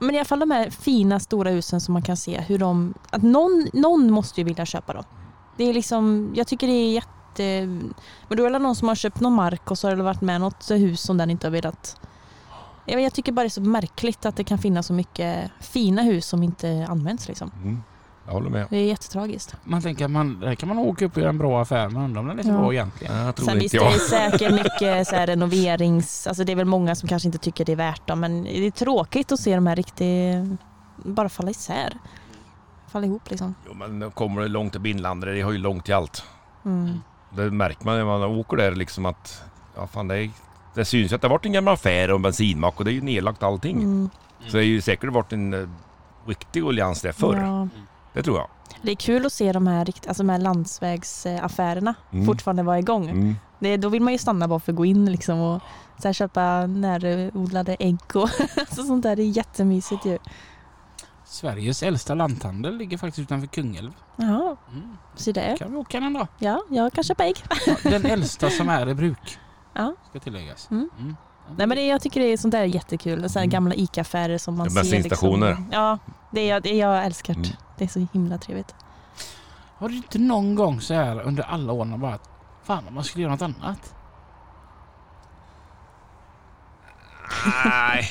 Speaker 3: men i alla fall de här fina stora husen som man kan se hur de, att någon, någon måste ju vilja köpa dem. Det är liksom, jag tycker det är jätte, men då är det någon som har köpt någon mark och så har det varit med något hus som den inte har velat. Jag, jag tycker bara det är så märkligt att det kan finnas så mycket fina hus som inte används liksom.
Speaker 4: Mm. Jag håller med.
Speaker 3: Det är jättetragiskt.
Speaker 2: Man tänker att man, där kan man åka upp och göra en bra affär men undrar om den är så
Speaker 3: Ja.
Speaker 2: bra egentligen.
Speaker 4: Jag tror
Speaker 3: Sen visst,
Speaker 4: inte
Speaker 3: det
Speaker 4: jag.
Speaker 3: är säkert mycket så här renoverings... Alltså det är väl många som kanske inte tycker det är värt dem, men det är tråkigt att se de här riktigt... Bara falla isär. Falla ihop liksom.
Speaker 4: Jo, men nu kommer det långt upp i inlandet. Det har ju långt till allt.
Speaker 3: Mm.
Speaker 4: Det märker man när man åker där liksom att... Ja, fan, det, är, det syns ju att det har varit en gammal affär och en bensinmack och det är ju nedlagt allting.
Speaker 3: Mm.
Speaker 4: Så det har ju säkert varit en eh, riktig allians där förr.
Speaker 3: Ja.
Speaker 4: Det tror jag.
Speaker 3: Det är kul att se de här, rikt- alltså de här landsvägsaffärerna
Speaker 4: Mm.
Speaker 3: fortfarande vara igång.
Speaker 4: Mm.
Speaker 3: Det, då vill man ju stanna bara för att gå in liksom och så här köpa närodlade ägg och alltså sånt där. Det är jättemysigt ju.
Speaker 2: Sveriges äldsta lanthandel ligger faktiskt utanför Kungälv.
Speaker 3: Jaha,
Speaker 2: Mm.
Speaker 3: så det.
Speaker 2: kan vi åka den då.
Speaker 3: Ja, jag kan köpa ägg.
Speaker 2: Ja, Den äldsta som är i bruk.
Speaker 3: Ja.
Speaker 2: Ska tilläggas.
Speaker 3: Mm. Nej men det, jag tycker det är sånt där är jättekul. Så här
Speaker 4: Mm.
Speaker 3: gamla ICA-affärer som man
Speaker 4: Ja,
Speaker 3: ser.
Speaker 4: bensinstationer.
Speaker 3: Liksom. Ja, det är, jag- det är jag älskar.
Speaker 4: Mm.
Speaker 3: Det är så himla trevligt.
Speaker 2: Har du inte någon gång så här under alla åren bara att fan om man skulle göra något annat?
Speaker 4: Nej,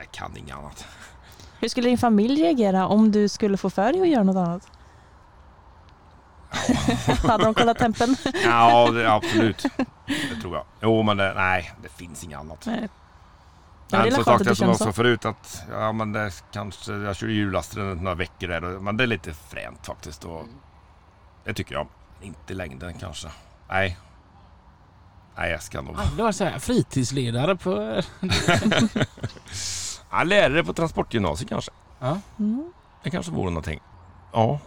Speaker 4: jag kan inget annat.
Speaker 3: Hur skulle din familj reagera om du skulle få för dig att göra något annat? Hade de kollat tempen?
Speaker 4: Ja, det, absolut. Det tror jag. Jo, men det, nej, det finns inget annat.
Speaker 3: Nej. Ja, det är
Speaker 4: Men
Speaker 3: väl
Speaker 4: som
Speaker 3: skönt
Speaker 4: sagt,
Speaker 3: att du
Speaker 4: jag som
Speaker 3: känner
Speaker 4: jag
Speaker 3: så.
Speaker 4: sa förut att ja, men det kanske, jag körde jullasten några veckor där. och- Men det är lite fränt faktiskt. Och,
Speaker 3: Mm.
Speaker 4: det tycker jag. Inte i längden kanske. Nej. Nej, jag ska nog...
Speaker 2: Det var så här fritidsledare på...
Speaker 4: Ja, lärare på transportgymnasiet kanske.
Speaker 2: Ja.
Speaker 3: Mm.
Speaker 4: Det kanske vore någonting. Ja,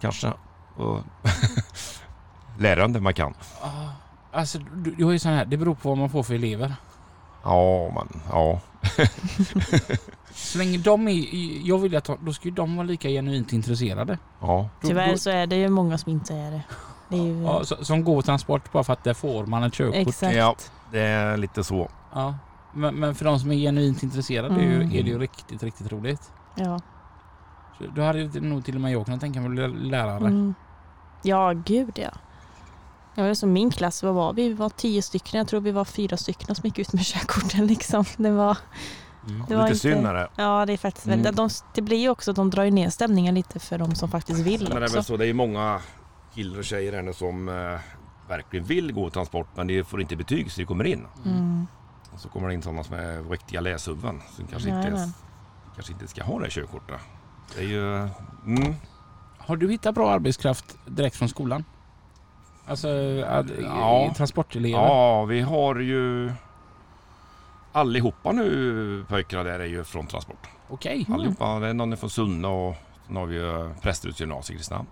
Speaker 4: kanske. Och lärande man kan.
Speaker 2: Ja, Alltså, du, du har ju sån här, det beror på vad man får för elever.
Speaker 4: Ja, men ja.
Speaker 2: Så länge de är, jag vill att de- då ska ju de vara lika genuint intresserade.
Speaker 4: Ja,
Speaker 2: Då-
Speaker 3: Tyvärr
Speaker 2: då-
Speaker 3: så är det ju många som inte är det. det är ju,
Speaker 2: Ja, så- som går transport bara för att där får man ett körkort.
Speaker 3: Exakt.
Speaker 4: Ja. det är lite så.
Speaker 2: Ja. Men, men för de som är genuint intresserade är,
Speaker 3: Mm.
Speaker 2: ju, är det ju riktigt, riktigt roligt.
Speaker 3: Ja.
Speaker 2: Så då hade ju nog till och med jag kunnat tänka mig att bli lärare.
Speaker 3: Mm. ja, gud ja. Ja, men som min klass, vad var vi? Vi var tio stycken. Jag tror vi var fyra stycken som gick ut med körkorten liksom. Det var...
Speaker 2: Mm.
Speaker 3: Det var
Speaker 4: lite
Speaker 3: inte-
Speaker 4: synd är det.
Speaker 3: Ja, det är faktiskt väldigt...
Speaker 4: Mm.
Speaker 3: De, det blir ju också att de drar ju ner stämningen lite för de som faktiskt vill
Speaker 4: Men det är
Speaker 3: också.
Speaker 4: väl så, det är ju många killar och tjejer här nu som eh, verkligen vill gå transport men de får inte betyg så de kommer in.
Speaker 3: Mm.
Speaker 4: Och så kommer det in sådana som är riktiga läshuvuden som kanske inte,
Speaker 3: Jajamän.
Speaker 4: ens, kanske inte ska ha det här körkortet. Det är ju... Mm,
Speaker 2: Har du hittat bra arbetskraft direkt från skolan? Alltså att, eh,
Speaker 4: Ja.
Speaker 2: transportelever?
Speaker 4: ja, vi har ju... Allihopa nu pojkarna där är ju från transport.
Speaker 2: Okej.
Speaker 3: Mm.
Speaker 4: Allihopa. Det är någon från Sunne och sen har vi ju Prästeruds gymnasium i Kristinehamn.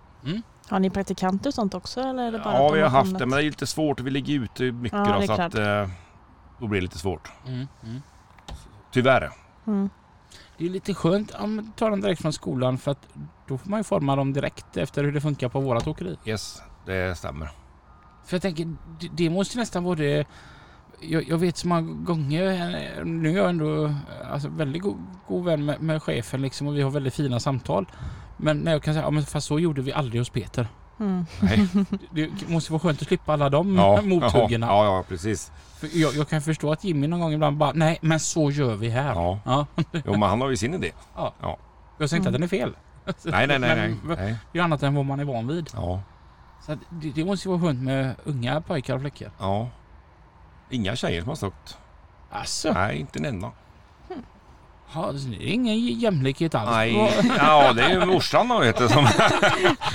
Speaker 3: Har ni praktikanter och sånt också? Eller är det bara
Speaker 4: Ja,
Speaker 3: att de
Speaker 4: vi har haft
Speaker 3: hamnat-
Speaker 4: det men det är ju lite svårt. Vi ligger ute mycket
Speaker 3: Ja, det
Speaker 4: då,
Speaker 3: är
Speaker 4: så att eh, då blir det lite svårt.
Speaker 2: Mm. Mm.
Speaker 4: Tyvärr.
Speaker 3: Mm.
Speaker 2: Det är lite skönt om man tar den direkt från skolan för att då får man ju forma dem direkt efter hur det funkar på vårat åkeri.
Speaker 4: Yes, det stämmer.
Speaker 2: Mm, För jag tänker, det- det måste nästan vara det... Jag, jag vet så många gånger, eh, nu är jag ändå alltså, väldigt god, god vän med, med chefen liksom och vi har väldigt fina samtal. Men när jag kan säga, ja men fast så gjorde vi aldrig hos Peter.
Speaker 3: Mm.
Speaker 4: Nej.
Speaker 2: Det måste vara skönt att slippa alla de
Speaker 4: ja,
Speaker 2: mothuggarna.
Speaker 4: ja, ja, precis.
Speaker 2: För jag, jag kan förstå att Jimmy någon gång ibland bara, nej men så gör vi här. Ja.
Speaker 4: Ja. Jo, men han har ju sin idé.
Speaker 2: Jag säger inte att
Speaker 3: Mm.
Speaker 2: den är fel.
Speaker 4: Nej, nej, nej. nej.
Speaker 2: Men vad-
Speaker 4: nej.
Speaker 2: Det är annat än vad man är van vid.
Speaker 4: Ja.
Speaker 2: Så att det, det måste ju vara skönt med unga pojkar och flickor.
Speaker 4: ja. Inga tjejer som har sökt.
Speaker 2: Alltså,
Speaker 4: Nej, inte en enda.
Speaker 2: Ja, det är ingen jämlikhet alls.
Speaker 4: Nej, ja det är ju morsan då vet du som...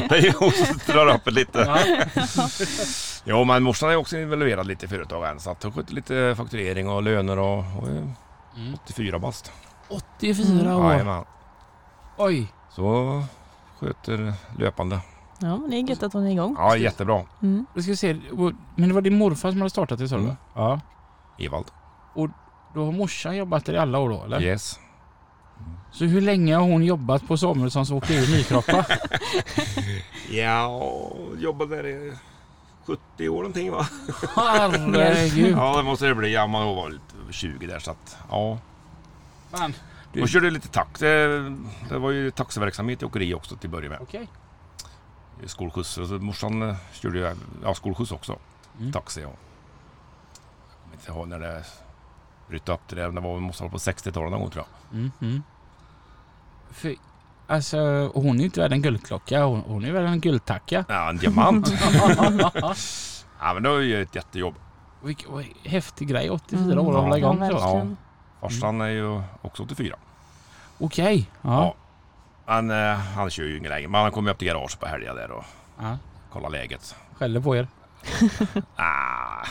Speaker 4: det är ju hon som drar upp det lite.
Speaker 2: Ja.
Speaker 4: Jo men morsan är också involverad lite i företagen så att hon sköter lite fakturering och löner och... och är
Speaker 2: Mm.
Speaker 4: 84 bast.
Speaker 2: 84
Speaker 3: Mm.
Speaker 2: år.
Speaker 4: Jajamän.
Speaker 2: Oj.
Speaker 4: Så sköter löpande.
Speaker 3: Ja, men det är gött att hon är igång.
Speaker 4: Ja jättebra.
Speaker 3: Mm.
Speaker 2: Då ska vi se. Men det var din morfar som hade startat det sa du?
Speaker 4: Mm.
Speaker 2: Ja.
Speaker 4: Evald.
Speaker 2: Då har morsan jobbat där i alla år då eller?
Speaker 4: Yes.
Speaker 2: Så hur länge har hon jobbat på Samuelssons åkeri i Nykroppa?
Speaker 4: Ja, jobbade där i 70 år någonting va?
Speaker 2: Herregud.
Speaker 4: Ja det måste det bli. Ja man var lite över 20 där så att ja.
Speaker 2: Fan. Du-
Speaker 4: Hon körde lite taxi. Det var ju taxiverksamhet i åkeri också till att börja med.
Speaker 2: Okej.
Speaker 4: skolskjuts. Alltså, morsan eh, körde ju ja, skolskjuts också.
Speaker 2: Mm.
Speaker 4: Taxi och... Jag kommer inte ihåg när det brytte upp det där. men Det var, det måste vara på 60-talet någon gång tror jag.
Speaker 2: Mm, mm. För, alltså, hon är ju inte värd en guldklocka. Hon, hon är värd en guldtacka.
Speaker 4: Ja, en diamant. ja, men det var ju ett jättejobb.
Speaker 2: Vilken vad häftig grej. 84
Speaker 3: Mm.
Speaker 2: år att hålla igång
Speaker 3: Ja,
Speaker 2: så.
Speaker 3: verkligen.
Speaker 4: Farsan är ju också 84.
Speaker 2: Okej. Ja.
Speaker 4: Han, eh, han kör ju ingen längre. Men han kommer upp till garaget på helger där och
Speaker 2: ja.
Speaker 4: kollar läget.
Speaker 2: Skäller på er.
Speaker 4: Ah.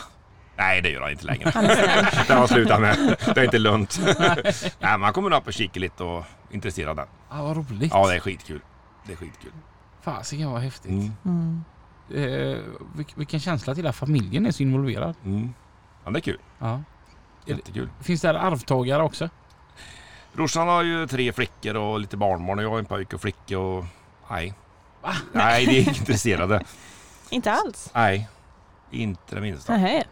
Speaker 4: Nej, det gör han inte längre. det har han slutat med. Det är inte lönt. Nej, men han kommer upp och kikar lite och är intresserad. där.
Speaker 2: Ja, vad roligt.
Speaker 4: Ja, det är skitkul. Det är skitkul.
Speaker 2: Fasiken vad häftigt.
Speaker 4: Mm.
Speaker 3: Mm.
Speaker 2: Eh, vilk- vilken känsla att hela familjen är så involverad.
Speaker 4: Mm. Ja, det är kul.
Speaker 2: Ja.
Speaker 4: Jättekul.
Speaker 2: Finns det här arvtagare också?
Speaker 4: Brorsan har ju tre flickor och lite barnbarn och jag har en pojke och flicka och... Nej.
Speaker 2: Va?
Speaker 4: Nej, det är inte intresserade.
Speaker 3: Inte alls.
Speaker 4: Nej. Inte det minsta.
Speaker 3: Nähä.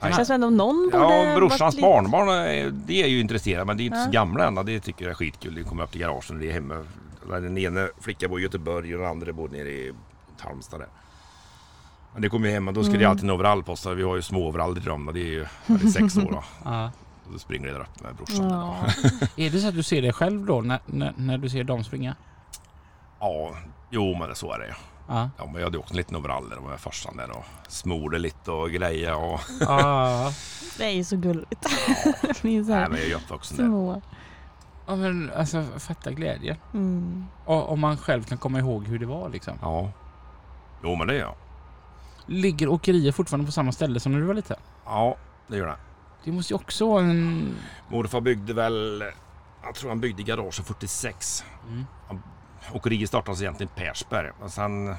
Speaker 4: Nej.
Speaker 3: Känns ändå om någon borde
Speaker 4: Ja, och
Speaker 3: varit
Speaker 4: brorsans
Speaker 3: lite-
Speaker 4: barnbarn är, det är ju intresserade men det är inte så
Speaker 3: Ja.
Speaker 4: gamla än. Det tycker jag är skitkul. Det kommer upp till garagen. Det är hemma. Den ene flickan bor i Göteborg och den andra bor nere i Halmstad där. Men det kommer ju hem och då ska det
Speaker 3: Mm.
Speaker 4: alltid en overall på oss. Vi har ju små overaller till dem och det är ju när det är sex år. Då.
Speaker 2: Ja.
Speaker 4: Och då springer det där upp med brorsan. där, då.
Speaker 3: Ja.
Speaker 2: Är det så att du ser dig själv då när, när, när du ser dem springa?
Speaker 4: Ja, jo men så är det ju.
Speaker 2: Ja.
Speaker 4: Ja, men jag hade också en liten overall där med farsan där och smorde lite och grejer och...
Speaker 2: Ah.
Speaker 3: Det är ju så gulligt. Ni är så
Speaker 4: Nej,
Speaker 3: här
Speaker 4: men jag är ju uppvuxen där.
Speaker 3: små.
Speaker 2: ja men alltså fatta glädjen.
Speaker 3: Mm.
Speaker 2: Och, om man själv kan komma ihåg hur det var liksom.
Speaker 4: Ja. Jo, men det gör jag.
Speaker 2: Ligger åkerier fortfarande på samma ställe som när du var liten?
Speaker 4: Ja, det gör det.
Speaker 2: Det måste ju också vara en...
Speaker 4: Morfar byggde väl... Jag tror han byggde garaget 46.
Speaker 2: Mm.
Speaker 4: Åkeriet startades egentligen i Persberg. Men sen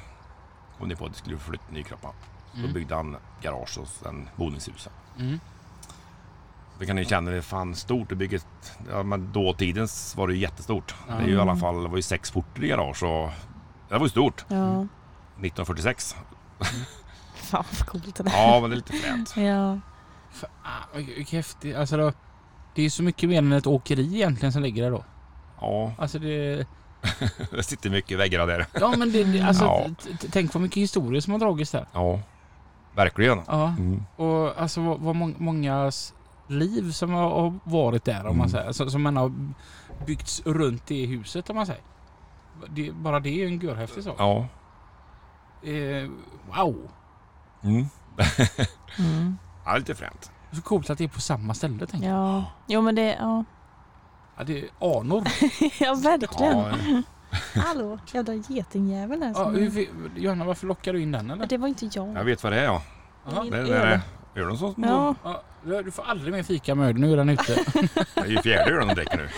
Speaker 4: kom ni på att det skulle flytta till Nykroppa. Då
Speaker 2: Mm.
Speaker 4: byggde han garage och sen boningshuset.
Speaker 2: Mm.
Speaker 4: Det kan ni känna, det fan stort. Det bygget, ja, men dåtidens var det ju jättestort. Det är ju i
Speaker 3: Mm.
Speaker 4: alla fall, det var ju sex porter i garage och... Det var ju stort.
Speaker 3: Ja.
Speaker 4: 1946.
Speaker 3: Fan vad coolt det där.
Speaker 4: Ja, men det är lite fränt.
Speaker 3: Ja.
Speaker 2: Fan, vad vilken häftig. Alltså då, det är så mycket mer än ett åkeri egentligen som ligger där då.
Speaker 4: Ja,
Speaker 2: Alltså det...
Speaker 4: det sitter mycket i väggarna där.
Speaker 2: Ja men det, det alltså,
Speaker 4: Ja.
Speaker 2: t- t- tänk vad mycket historier som har dragits där.
Speaker 4: Ja, verkligen.
Speaker 2: Ja.
Speaker 4: Mm.
Speaker 2: Och alltså vad, vad mång- mångas liv som har, har varit där om man
Speaker 4: Mm.
Speaker 2: säger. Alltså, som man har byggts runt det huset om man säger. Det, bara det är ju en görhäftig sak.
Speaker 4: Ja.
Speaker 2: Eh, wow!
Speaker 4: Mm.
Speaker 3: Mm.
Speaker 4: ja, det är lite fränt.
Speaker 2: Så coolt att det är på samma ställe tänker jag.
Speaker 3: ja. Jo men det, ja.
Speaker 2: Ja, det är anor.
Speaker 3: Ja verkligen.
Speaker 4: Ja, eh,
Speaker 3: Hallå, jävla getingjävel här.
Speaker 2: Ja,
Speaker 3: som-
Speaker 2: hur, vi- Johanna, varför lockar du in den eller?
Speaker 3: det var inte jag.
Speaker 4: jag vet vad det är ja.
Speaker 2: Jaha.
Speaker 4: Det är det där ölen som...
Speaker 3: Ja.
Speaker 2: Ja, du får aldrig mer fika med öl, nu är den ute.
Speaker 4: Det är ju fjärde ölen de dricker nu.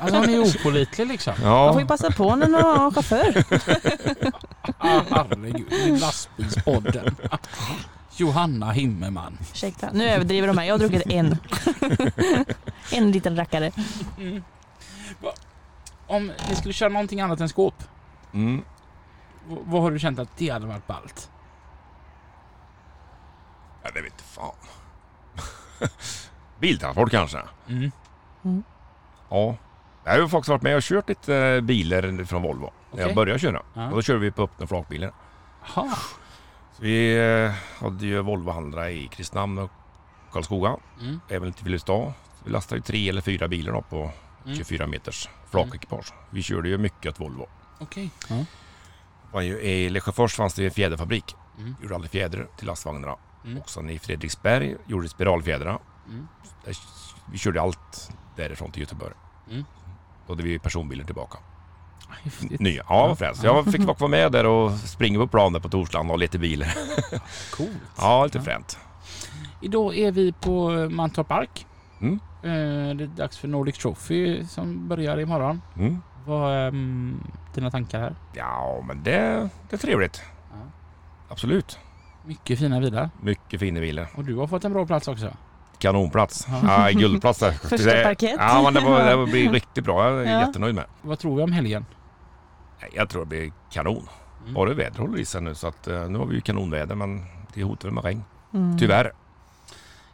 Speaker 2: Alltså hon är opålitlig liksom.
Speaker 3: Man får ju
Speaker 4: Ja.
Speaker 3: passa på när man har en chaufför.
Speaker 2: Ah, herregud, det är lastbilspodden. Johanna Himmelman.
Speaker 3: Ursäkta, nu överdriver de här. Jag har druckit en. en liten rackare.
Speaker 2: Om ni skulle köra någonting annat än skåp,
Speaker 4: Mm.
Speaker 2: v- vad har du känt att det hade varit ballt?
Speaker 4: ja, det vet inte fan. Biltransport kanske?
Speaker 2: Mm.
Speaker 4: Ja. Jag har ju faktiskt varit med och kört lite eh, bilar från Volvo. När
Speaker 2: Okej.
Speaker 4: jag började köra.
Speaker 2: Ja.
Speaker 4: Och då körde vi på öppna flakbilar.
Speaker 2: Aha.
Speaker 4: Så vi eh, hade ju Volvo Handla i Kristinehamn och Karlskoga.
Speaker 2: Mm.
Speaker 4: även lite Filipstad. Vi lastade ju tre eller fyra bilar då på
Speaker 2: Mm.
Speaker 4: 24 meters flakekipage.
Speaker 3: Mm.
Speaker 4: Vi körde ju mycket åt Volvo.
Speaker 2: Okej. Ja.
Speaker 4: Var ju, I Lesjöfors fanns det ju en fjäderfabrik.
Speaker 2: Mm.
Speaker 4: Gjorde aldrig fjädrar till lastvagnarna.
Speaker 2: Mm.
Speaker 4: Och sen i Fredriksberg gjorde vi spiralfjädrar.
Speaker 2: Mm.
Speaker 4: Där, vi körde allt därifrån till Göteborg.
Speaker 2: Mm.
Speaker 4: Då hade vi personbilen tillbaka.
Speaker 2: Ah, Häftigt.
Speaker 4: Nya. Ja, vad fränt. Jag fick vara med där och springa på planen på Torslanda och lite bilar.
Speaker 2: Coolt.
Speaker 4: Ja, lite fränt.
Speaker 2: Idag är vi på eh, Mantorp Park.
Speaker 4: Mm.
Speaker 2: Eh, Det är dags för Nordic Trophy som börjar imorgon.
Speaker 4: Mm.
Speaker 2: Vad är mm, dina tankar här?
Speaker 4: Ja, men det, det är trevligt.
Speaker 2: Ja.
Speaker 4: Absolut.
Speaker 2: Mycket fina bilar.
Speaker 4: Mycket fina bilar.
Speaker 2: Och du har fått en bra plats också.
Speaker 4: Kanonplats.
Speaker 2: Ja.
Speaker 4: Ja, guldplats där.
Speaker 3: Första parkett.
Speaker 4: Ja, men det, var, det blir riktigt bra. Jag är
Speaker 3: Ja.
Speaker 4: jättenöjd med.
Speaker 2: Vad tror vi om helgen?
Speaker 4: Nej, Jag tror det blir kanon.
Speaker 2: Mm.
Speaker 4: Bara vädret håller i sig nu så att eh, nu har vi ju kanonväder men det hotar väl med regn.
Speaker 3: Mm.
Speaker 4: Tyvärr.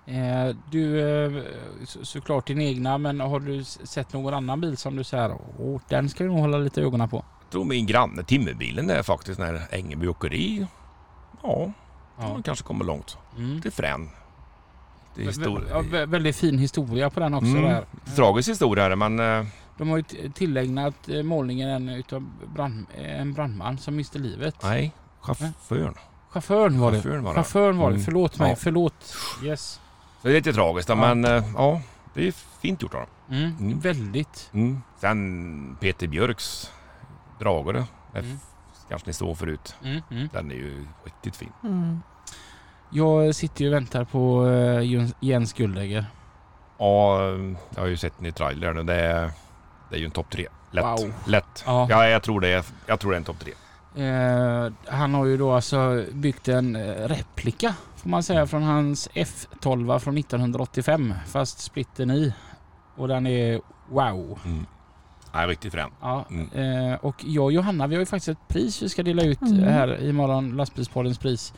Speaker 2: Eh, Du, eh, så- såklart din egna, men har du s- sett någon annan bil som du säger åh, den ska vi nog hålla lite ögonen på?
Speaker 4: Jag tror min granne timmerbilen där faktiskt när Ängeby Åkeri. Ja, de kanske kommer långt.
Speaker 2: Mm.
Speaker 4: Det är frän. Det är
Speaker 2: Vä-
Speaker 4: histori-
Speaker 2: vä- ja, vä- väldigt fin historia på den också.
Speaker 4: Mm.
Speaker 2: Där.
Speaker 4: Tragisk historia är det men eh,
Speaker 2: De har ju t- tillägnat eh, målningen en, utav brand, eh, en brandman som miste livet.
Speaker 4: nej, chauffören.
Speaker 2: Chauffören var det.
Speaker 4: Chauffören var det.
Speaker 2: Chauffören var det.
Speaker 4: Mm.
Speaker 2: Förlåt mig.
Speaker 4: Ja.
Speaker 2: Förlåt. Yes.
Speaker 4: Så det är lite tragiskt
Speaker 2: Ja.
Speaker 4: men eh, ja, det är fint gjort av dem.
Speaker 2: Mm.
Speaker 4: Mm.
Speaker 2: Väldigt.
Speaker 4: Mm. Sen Peter Björks dragare. Det
Speaker 2: Mm.
Speaker 4: Kanske ni såg förut.
Speaker 2: Mm. Mm.
Speaker 4: Den är ju riktigt fin.
Speaker 3: Mm.
Speaker 2: Jag sitter ju och väntar på eh, Jens- Jens Guldägger.
Speaker 4: Ja, jag har ju sett den i trailern och det är, det är ju en topp tre. Lätt.
Speaker 2: Wow.
Speaker 4: Lätt.
Speaker 2: Ja.
Speaker 4: Ja, jag tror det är, jag tror det är en topp tre.
Speaker 2: Eh, han har ju då alltså byggt en eh, replika får man säga från hans F12 från 1985 fast splitten i. Och den är wow.
Speaker 4: Nej, riktigt frän.
Speaker 2: Ja,
Speaker 4: Mm.
Speaker 2: eh, och jag och Johanna vi har ju faktiskt ett pris vi ska dela ut eh,
Speaker 3: Mm.
Speaker 2: här imorgon, lastbilspoddens pris.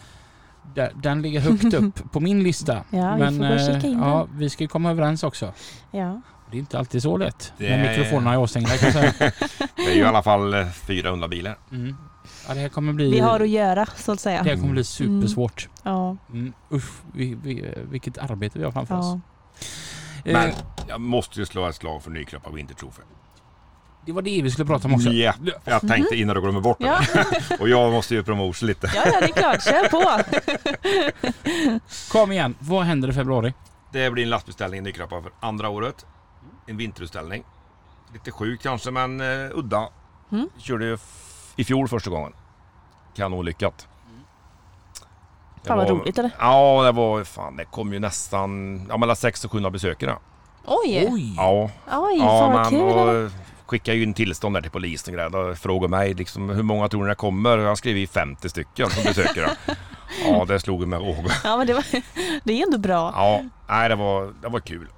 Speaker 2: Där- Den ligger högt upp på min lista.
Speaker 3: Ja, vi får gå och
Speaker 2: eh,
Speaker 3: kika in
Speaker 2: ja, vi ska ju komma överens också.
Speaker 3: Ja.
Speaker 2: Det är inte alltid så lätt.
Speaker 4: Det
Speaker 2: Med
Speaker 4: är-
Speaker 2: mikrofonerna är avstängda kan jag säga.
Speaker 4: Det är ju i alla fall eh, 400 bilar.
Speaker 2: Mm. Ja, det här kommer bli,
Speaker 3: Vi har att göra Mm. så att säga.
Speaker 2: det här kommer bli supersvårt.
Speaker 3: Ja.
Speaker 2: Mm, usch, vi, vi, vilket arbete vi har framför oss.
Speaker 3: ja.
Speaker 2: Eh,
Speaker 4: Men jag måste ju slå ett slag för Nykroppa Vintertrofe.
Speaker 2: det var det vi skulle prata om också.
Speaker 4: Ja, jag tänkte innan du glömmer bort det.
Speaker 3: Ja.
Speaker 4: Och jag måste ju promotion lite.
Speaker 3: ja, ja, det är klart. Kör på.
Speaker 2: Kom igen, vad händer i februari?
Speaker 4: Det blir en lastbeställning i Nykroppa för andra året. En vinterutställning. Lite sjuk kanske, men eh, udda.
Speaker 3: Mm.
Speaker 4: Körde ju f- i fjol första gången. Kanonlyckat. Det
Speaker 3: Fan vad
Speaker 4: var-
Speaker 3: roligt eller?
Speaker 4: Ja, det var fan, det kom ju nästan ja, mellan 600 och 700 besökare.
Speaker 3: Oj! Oj,
Speaker 2: Oj!
Speaker 4: Ja,
Speaker 3: fan
Speaker 4: ja
Speaker 3: vad kul. eller?
Speaker 4: och skickade ju in tillstånd där till polisen och grejer. och frågade mig liksom, hur många tror ni det kommer? Jag skrev i 50 stycken som besökare. ja, det slog mig ihåg.
Speaker 3: Ja, men det, var, det är ändå bra.
Speaker 4: Ja, nej, det var, det var kul.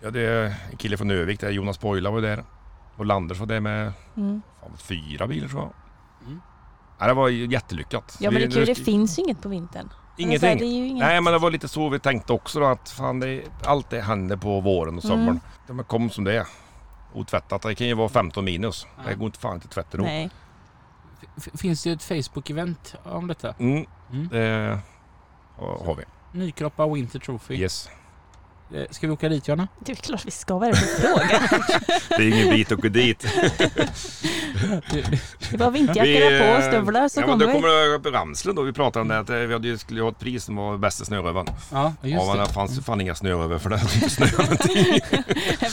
Speaker 4: Ja, det är en kille från Övik där, Jonas Boila var ju där. Och Landers var där med
Speaker 3: Mm.
Speaker 4: fan, fyra bilar tror jag.
Speaker 2: Mm.
Speaker 4: Ja, det var ju jättelyckat.
Speaker 3: Ja, men det är
Speaker 4: Vi-
Speaker 3: kul. Det finns ju inget på vintern.
Speaker 4: Ingenting.
Speaker 3: Alltså, det är ju inget.
Speaker 4: Nej, men det var lite så vi tänkte också då, att fan, det, allt det händer på våren och sommaren.
Speaker 3: Mm.
Speaker 4: Ja, men kom som det är. Otvättat. Det kan ju vara 15 minus. Det
Speaker 2: Ja.
Speaker 4: går inte fan till tvätten ihop.
Speaker 3: Nej.
Speaker 2: F- finns det ett Facebook-event om detta?
Speaker 4: Mm,
Speaker 2: Mm.
Speaker 4: det har har vi.
Speaker 2: Nykroppa Winter Trophy.
Speaker 4: Yes.
Speaker 2: Eh, Ska vi åka dit Johanna?
Speaker 3: Det är klart vi ska. Vad är det för fråga?
Speaker 4: Det är ingen bit att gå dit.
Speaker 3: Det var vinterjackor där på och stövlar så
Speaker 4: ja, men
Speaker 3: kommer
Speaker 4: då
Speaker 3: vi.
Speaker 4: kommer jag på Ramslen då. Vi pratade om det. Att eh, vi hade, ju- skulle ju ha ett pris som var bästa snörövaren.
Speaker 2: Ja, just
Speaker 4: Ja, men
Speaker 2: det.
Speaker 4: det Mm. fanns ju fan inga snörövare för det hade inte snö någonting.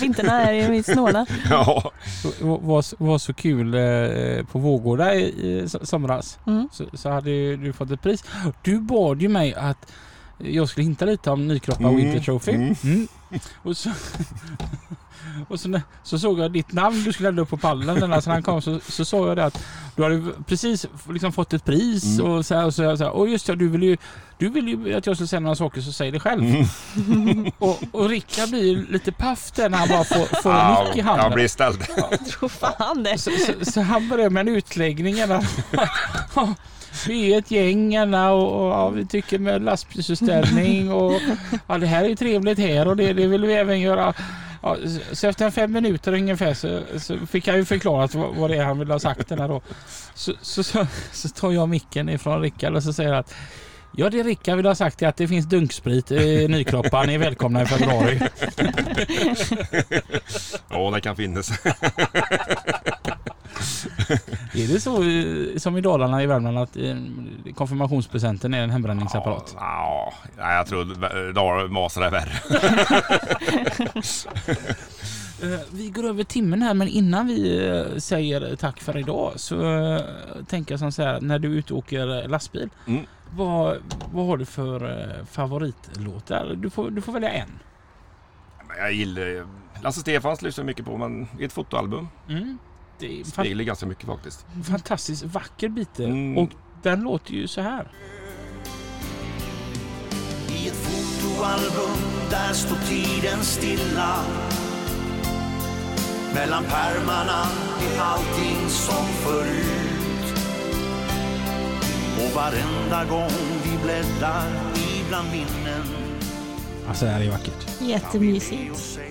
Speaker 3: Vintrarna är ju snåla.
Speaker 4: Ja,
Speaker 2: Det var, var, var så kul eh, på Vårgårda i, i so- somras.
Speaker 3: Mm.
Speaker 2: Så, så hade ju du fått ett pris. Du bad ju mig att jag skulle hinta lite om Nykroppa
Speaker 4: Mm.
Speaker 2: Winter Trophy.
Speaker 4: Mm.
Speaker 2: Mm. Och, så, och så, när- så såg jag ditt namn du skulle lämna upp på pallen. Eller så när han kom så, så såg jag det att du hade precis liksom fått ett pris
Speaker 4: Mm.
Speaker 2: och så här, och så, här, så här. Och just ja, du ville ju, du ville ju att jag skulle säga några saker så säg det själv.
Speaker 4: Mm.
Speaker 2: Och, och Rickard blir ju lite paff där när han bara får, får en nick i handen.
Speaker 4: jag blir ställd.
Speaker 3: Tro fan det.
Speaker 2: Så, så, så han börjar med en utläggning. eller? Vi är ett gäng eller, och, och ja, vi tycker med lastbilsutställning och ja, det här är ju trevligt här och det, det vill vi även göra. Ja, så- så efter fem minuter ungefär så, så fick han ju förklarat vad, vad det är han ville ha sagt. Den här då. Så, så, så, så tar jag micken ifrån Rickard och så säger att Ja det Rickard vill ha sagt är att det finns dunksprit i Nykroppa. Ni är välkomna i februari.
Speaker 4: Ja, det kan finnas.
Speaker 2: Är det så eh, som i Dalarna i Värmland att eh, konfirmationspresenten är en hembränningsapparat?
Speaker 4: Ja, ja, jag tror Dalar masar är värre.
Speaker 2: Eh, Vi går över timmen här men innan vi eh, säger tack för idag så eh, tänker jag som så här när du är ute och åker lastbil.
Speaker 4: Mm.
Speaker 2: Vad, vad har du för eh, favoritlåtar? Du får, du får välja en.
Speaker 4: Men Jag gillar ju- Lasse Stefans lyssnar jag mycket på, men i ett fotoalbum.
Speaker 2: Mm. Det är
Speaker 4: Jag
Speaker 2: fan,
Speaker 4: gillar ganska mycket faktiskt.
Speaker 2: fantastiskt vacker bit
Speaker 4: Mm.
Speaker 2: och den låter ju så här.
Speaker 5: I ett fotoalbum där står tiden stilla Mellan pärmarna är allting som förut Och varenda gång vi bläddrar i bland minnen
Speaker 2: Alltså det här är vackert.
Speaker 5: och
Speaker 3: Jättemysigt.
Speaker 5: säga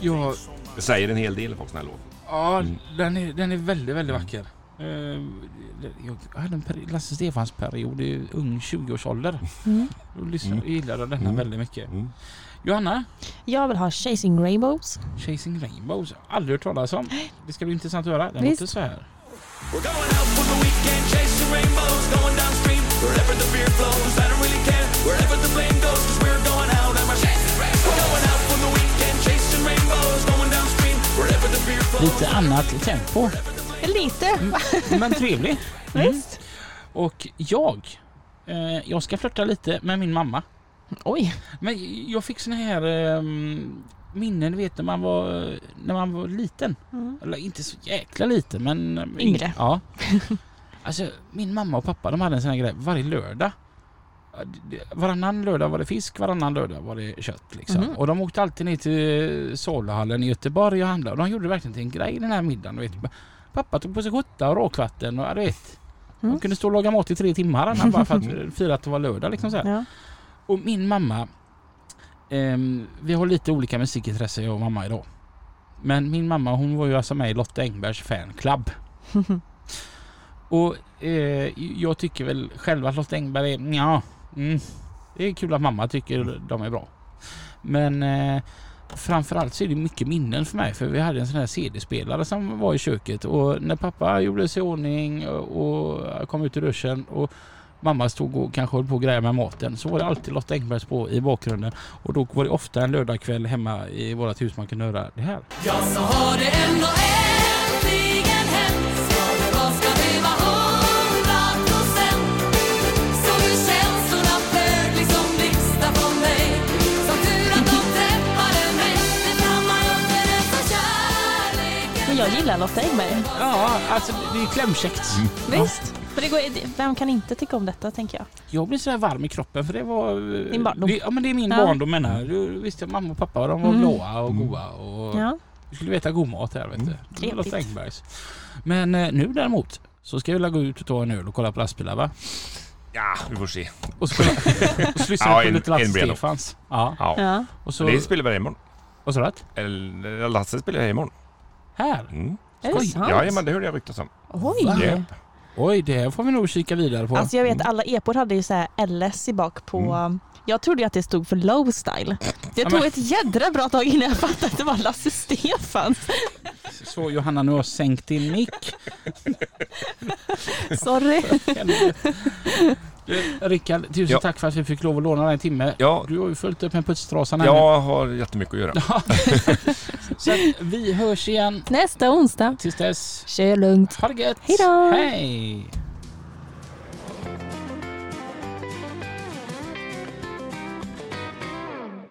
Speaker 2: Ja,
Speaker 4: Det säger en hel del faktiskt den här låten.
Speaker 2: ja den, är, den är väldigt,
Speaker 4: Mm.
Speaker 2: väldigt vacker. Eh, det- Jag hade en peri- Lasse Stefans period i ung 20-årsålder.
Speaker 3: Mm.
Speaker 2: Då lyssnade, gillade jag denna
Speaker 4: Mm.
Speaker 2: väldigt mycket.
Speaker 4: Mm.
Speaker 2: Johanna?
Speaker 3: Jag vill ha Chasing Rainbows.
Speaker 2: Chasing Rainbows. Aldrig hört talas om. Det ska bli intressant att höra. Den
Speaker 3: Visst.
Speaker 2: låter så här.
Speaker 6: We're going out for the weekend, chasing rainbows, going downstream. Wherever the beer flows, I don't really care. Wherever the blame goes, cause we're going out and we're chasing rainbows. We're going out for the weekend, chasing rainbows, going downstream. Wherever the beer flows.
Speaker 2: Lite annat tempo,
Speaker 3: Lite.
Speaker 2: men trevlig.
Speaker 3: Visst.
Speaker 2: Och jag, eh, jag ska flirta lite med min mamma.
Speaker 3: Oj.
Speaker 2: Men jag fick såna här eh, minnen, du vet när man var, när man var liten. Eller inte så jäkla liten, men...
Speaker 3: Mm.
Speaker 2: ehm,
Speaker 3: Yngre.
Speaker 2: Ja. Alltså, min mamma och pappa de hade en sån här grej varje lördag. Ja, det- det- Varannan lördag var det fisk, varannan lördag var det kött. Liksom.
Speaker 3: Mhm.
Speaker 2: Och de åkte alltid ner till Salahallen i Göteborg och handlade. Och de gjorde verkligen till en grej den här middagen. du Vet. Pappa tog på sig skjorta och rakvatten och ja, du vet. De
Speaker 3: Mm.
Speaker 2: kunde stå och laga mat i tre timmar annan, bara för att fira att det var lördag. Liksom, så här.
Speaker 3: Ja.
Speaker 2: Och min mamma, ehm, vi har lite olika musikintressen jag och mamma idag. Men min mamma hon var ju alltså med i Lotta Engbergs fanclub. och eh, jag tycker väl själv att Lotta Engberg är, ja, mm, det är kul att mamma tycker de är bra. Men eh, framförallt så är det mycket minnen för mig för vi hade en sån här CD-spelare som var i köket och när pappa gjorde sig i ordning och och kom ut ur duschen och mamma stod och kanske höll på och grejade med maten så var det alltid Lotta Engbergs på i bakgrunden och då var det ofta en lördagkväll hemma i vårt hus man kunde höra det här.
Speaker 7: Ja, så har det ändå äntligen hänt. Ska det vara, ska det vara hundra procent? Så nu känslorna flöd liksom blixtar från mig. Som tur att de träffade mig. Det flammar upp en eld av kärleken.
Speaker 3: Men jag gillar Lotta Engberg.
Speaker 2: Ja, alltså det är klämkäckt.
Speaker 3: Visst. För det går, vem kan inte tycka om detta tänker jag?
Speaker 2: Jag blir så här varm i kroppen för det var... eh,
Speaker 3: Din barndom.
Speaker 2: Det, ja men det är min
Speaker 3: Ja.
Speaker 2: barndom menar jag. Du visste mamma och pappa de var
Speaker 3: Mm.
Speaker 2: glada och goa och...
Speaker 3: Ja.
Speaker 2: Du skulle veta god mat här vet
Speaker 4: Mm.
Speaker 2: du. Det var
Speaker 3: Trevligt.
Speaker 2: Lotta Engbergs. Men eh, nu däremot så ska jag väl gå ut och ta en öl och kolla på lastbilar va?
Speaker 4: Ja, vi får se.
Speaker 2: Och så och så lyssnar
Speaker 4: Ja,
Speaker 2: jag på
Speaker 4: en-
Speaker 2: lite
Speaker 4: en
Speaker 2: Lasse
Speaker 4: blir det nog.
Speaker 2: Stefans. Ja.
Speaker 4: Ja.
Speaker 3: ja.
Speaker 2: Och så...
Speaker 4: Det spelar vi imorgon.
Speaker 2: Vad sa du? att?
Speaker 4: Eller Lasse spelar jag imorgon.
Speaker 2: Här?
Speaker 4: Mm.
Speaker 3: Är det
Speaker 2: Oj.
Speaker 3: sant?
Speaker 4: Ja, men det hörde jag ryktas om.
Speaker 3: Oj.
Speaker 2: Va?
Speaker 4: Ja.
Speaker 2: Oj, det får vi nog kika vidare på.
Speaker 3: Alltså jag vet alla epor hade ju så här LS i bak på... Jag trodde ju att det stod för low style. Det
Speaker 2: Ja,
Speaker 3: tog
Speaker 2: men-
Speaker 3: ett jädra bra tag innan jag fattade att det var Lasse Stefans.
Speaker 2: Så Johanna, nu har jag sänkt din mick.
Speaker 3: Sorry.
Speaker 2: Helvete. Du, Rickard, tusen
Speaker 4: Ja.
Speaker 2: tack för att vi fick lov att låna den timme.
Speaker 4: Ja,
Speaker 2: Du har ju följt upp med putsstrasan här
Speaker 4: jag har jättemycket att göra.
Speaker 2: nu. Så att vi hörs igen
Speaker 3: Nästa onsdag.
Speaker 2: tills dess.
Speaker 3: Kör lugnt.
Speaker 2: Ha det gött!
Speaker 3: Hej då.
Speaker 2: Hej!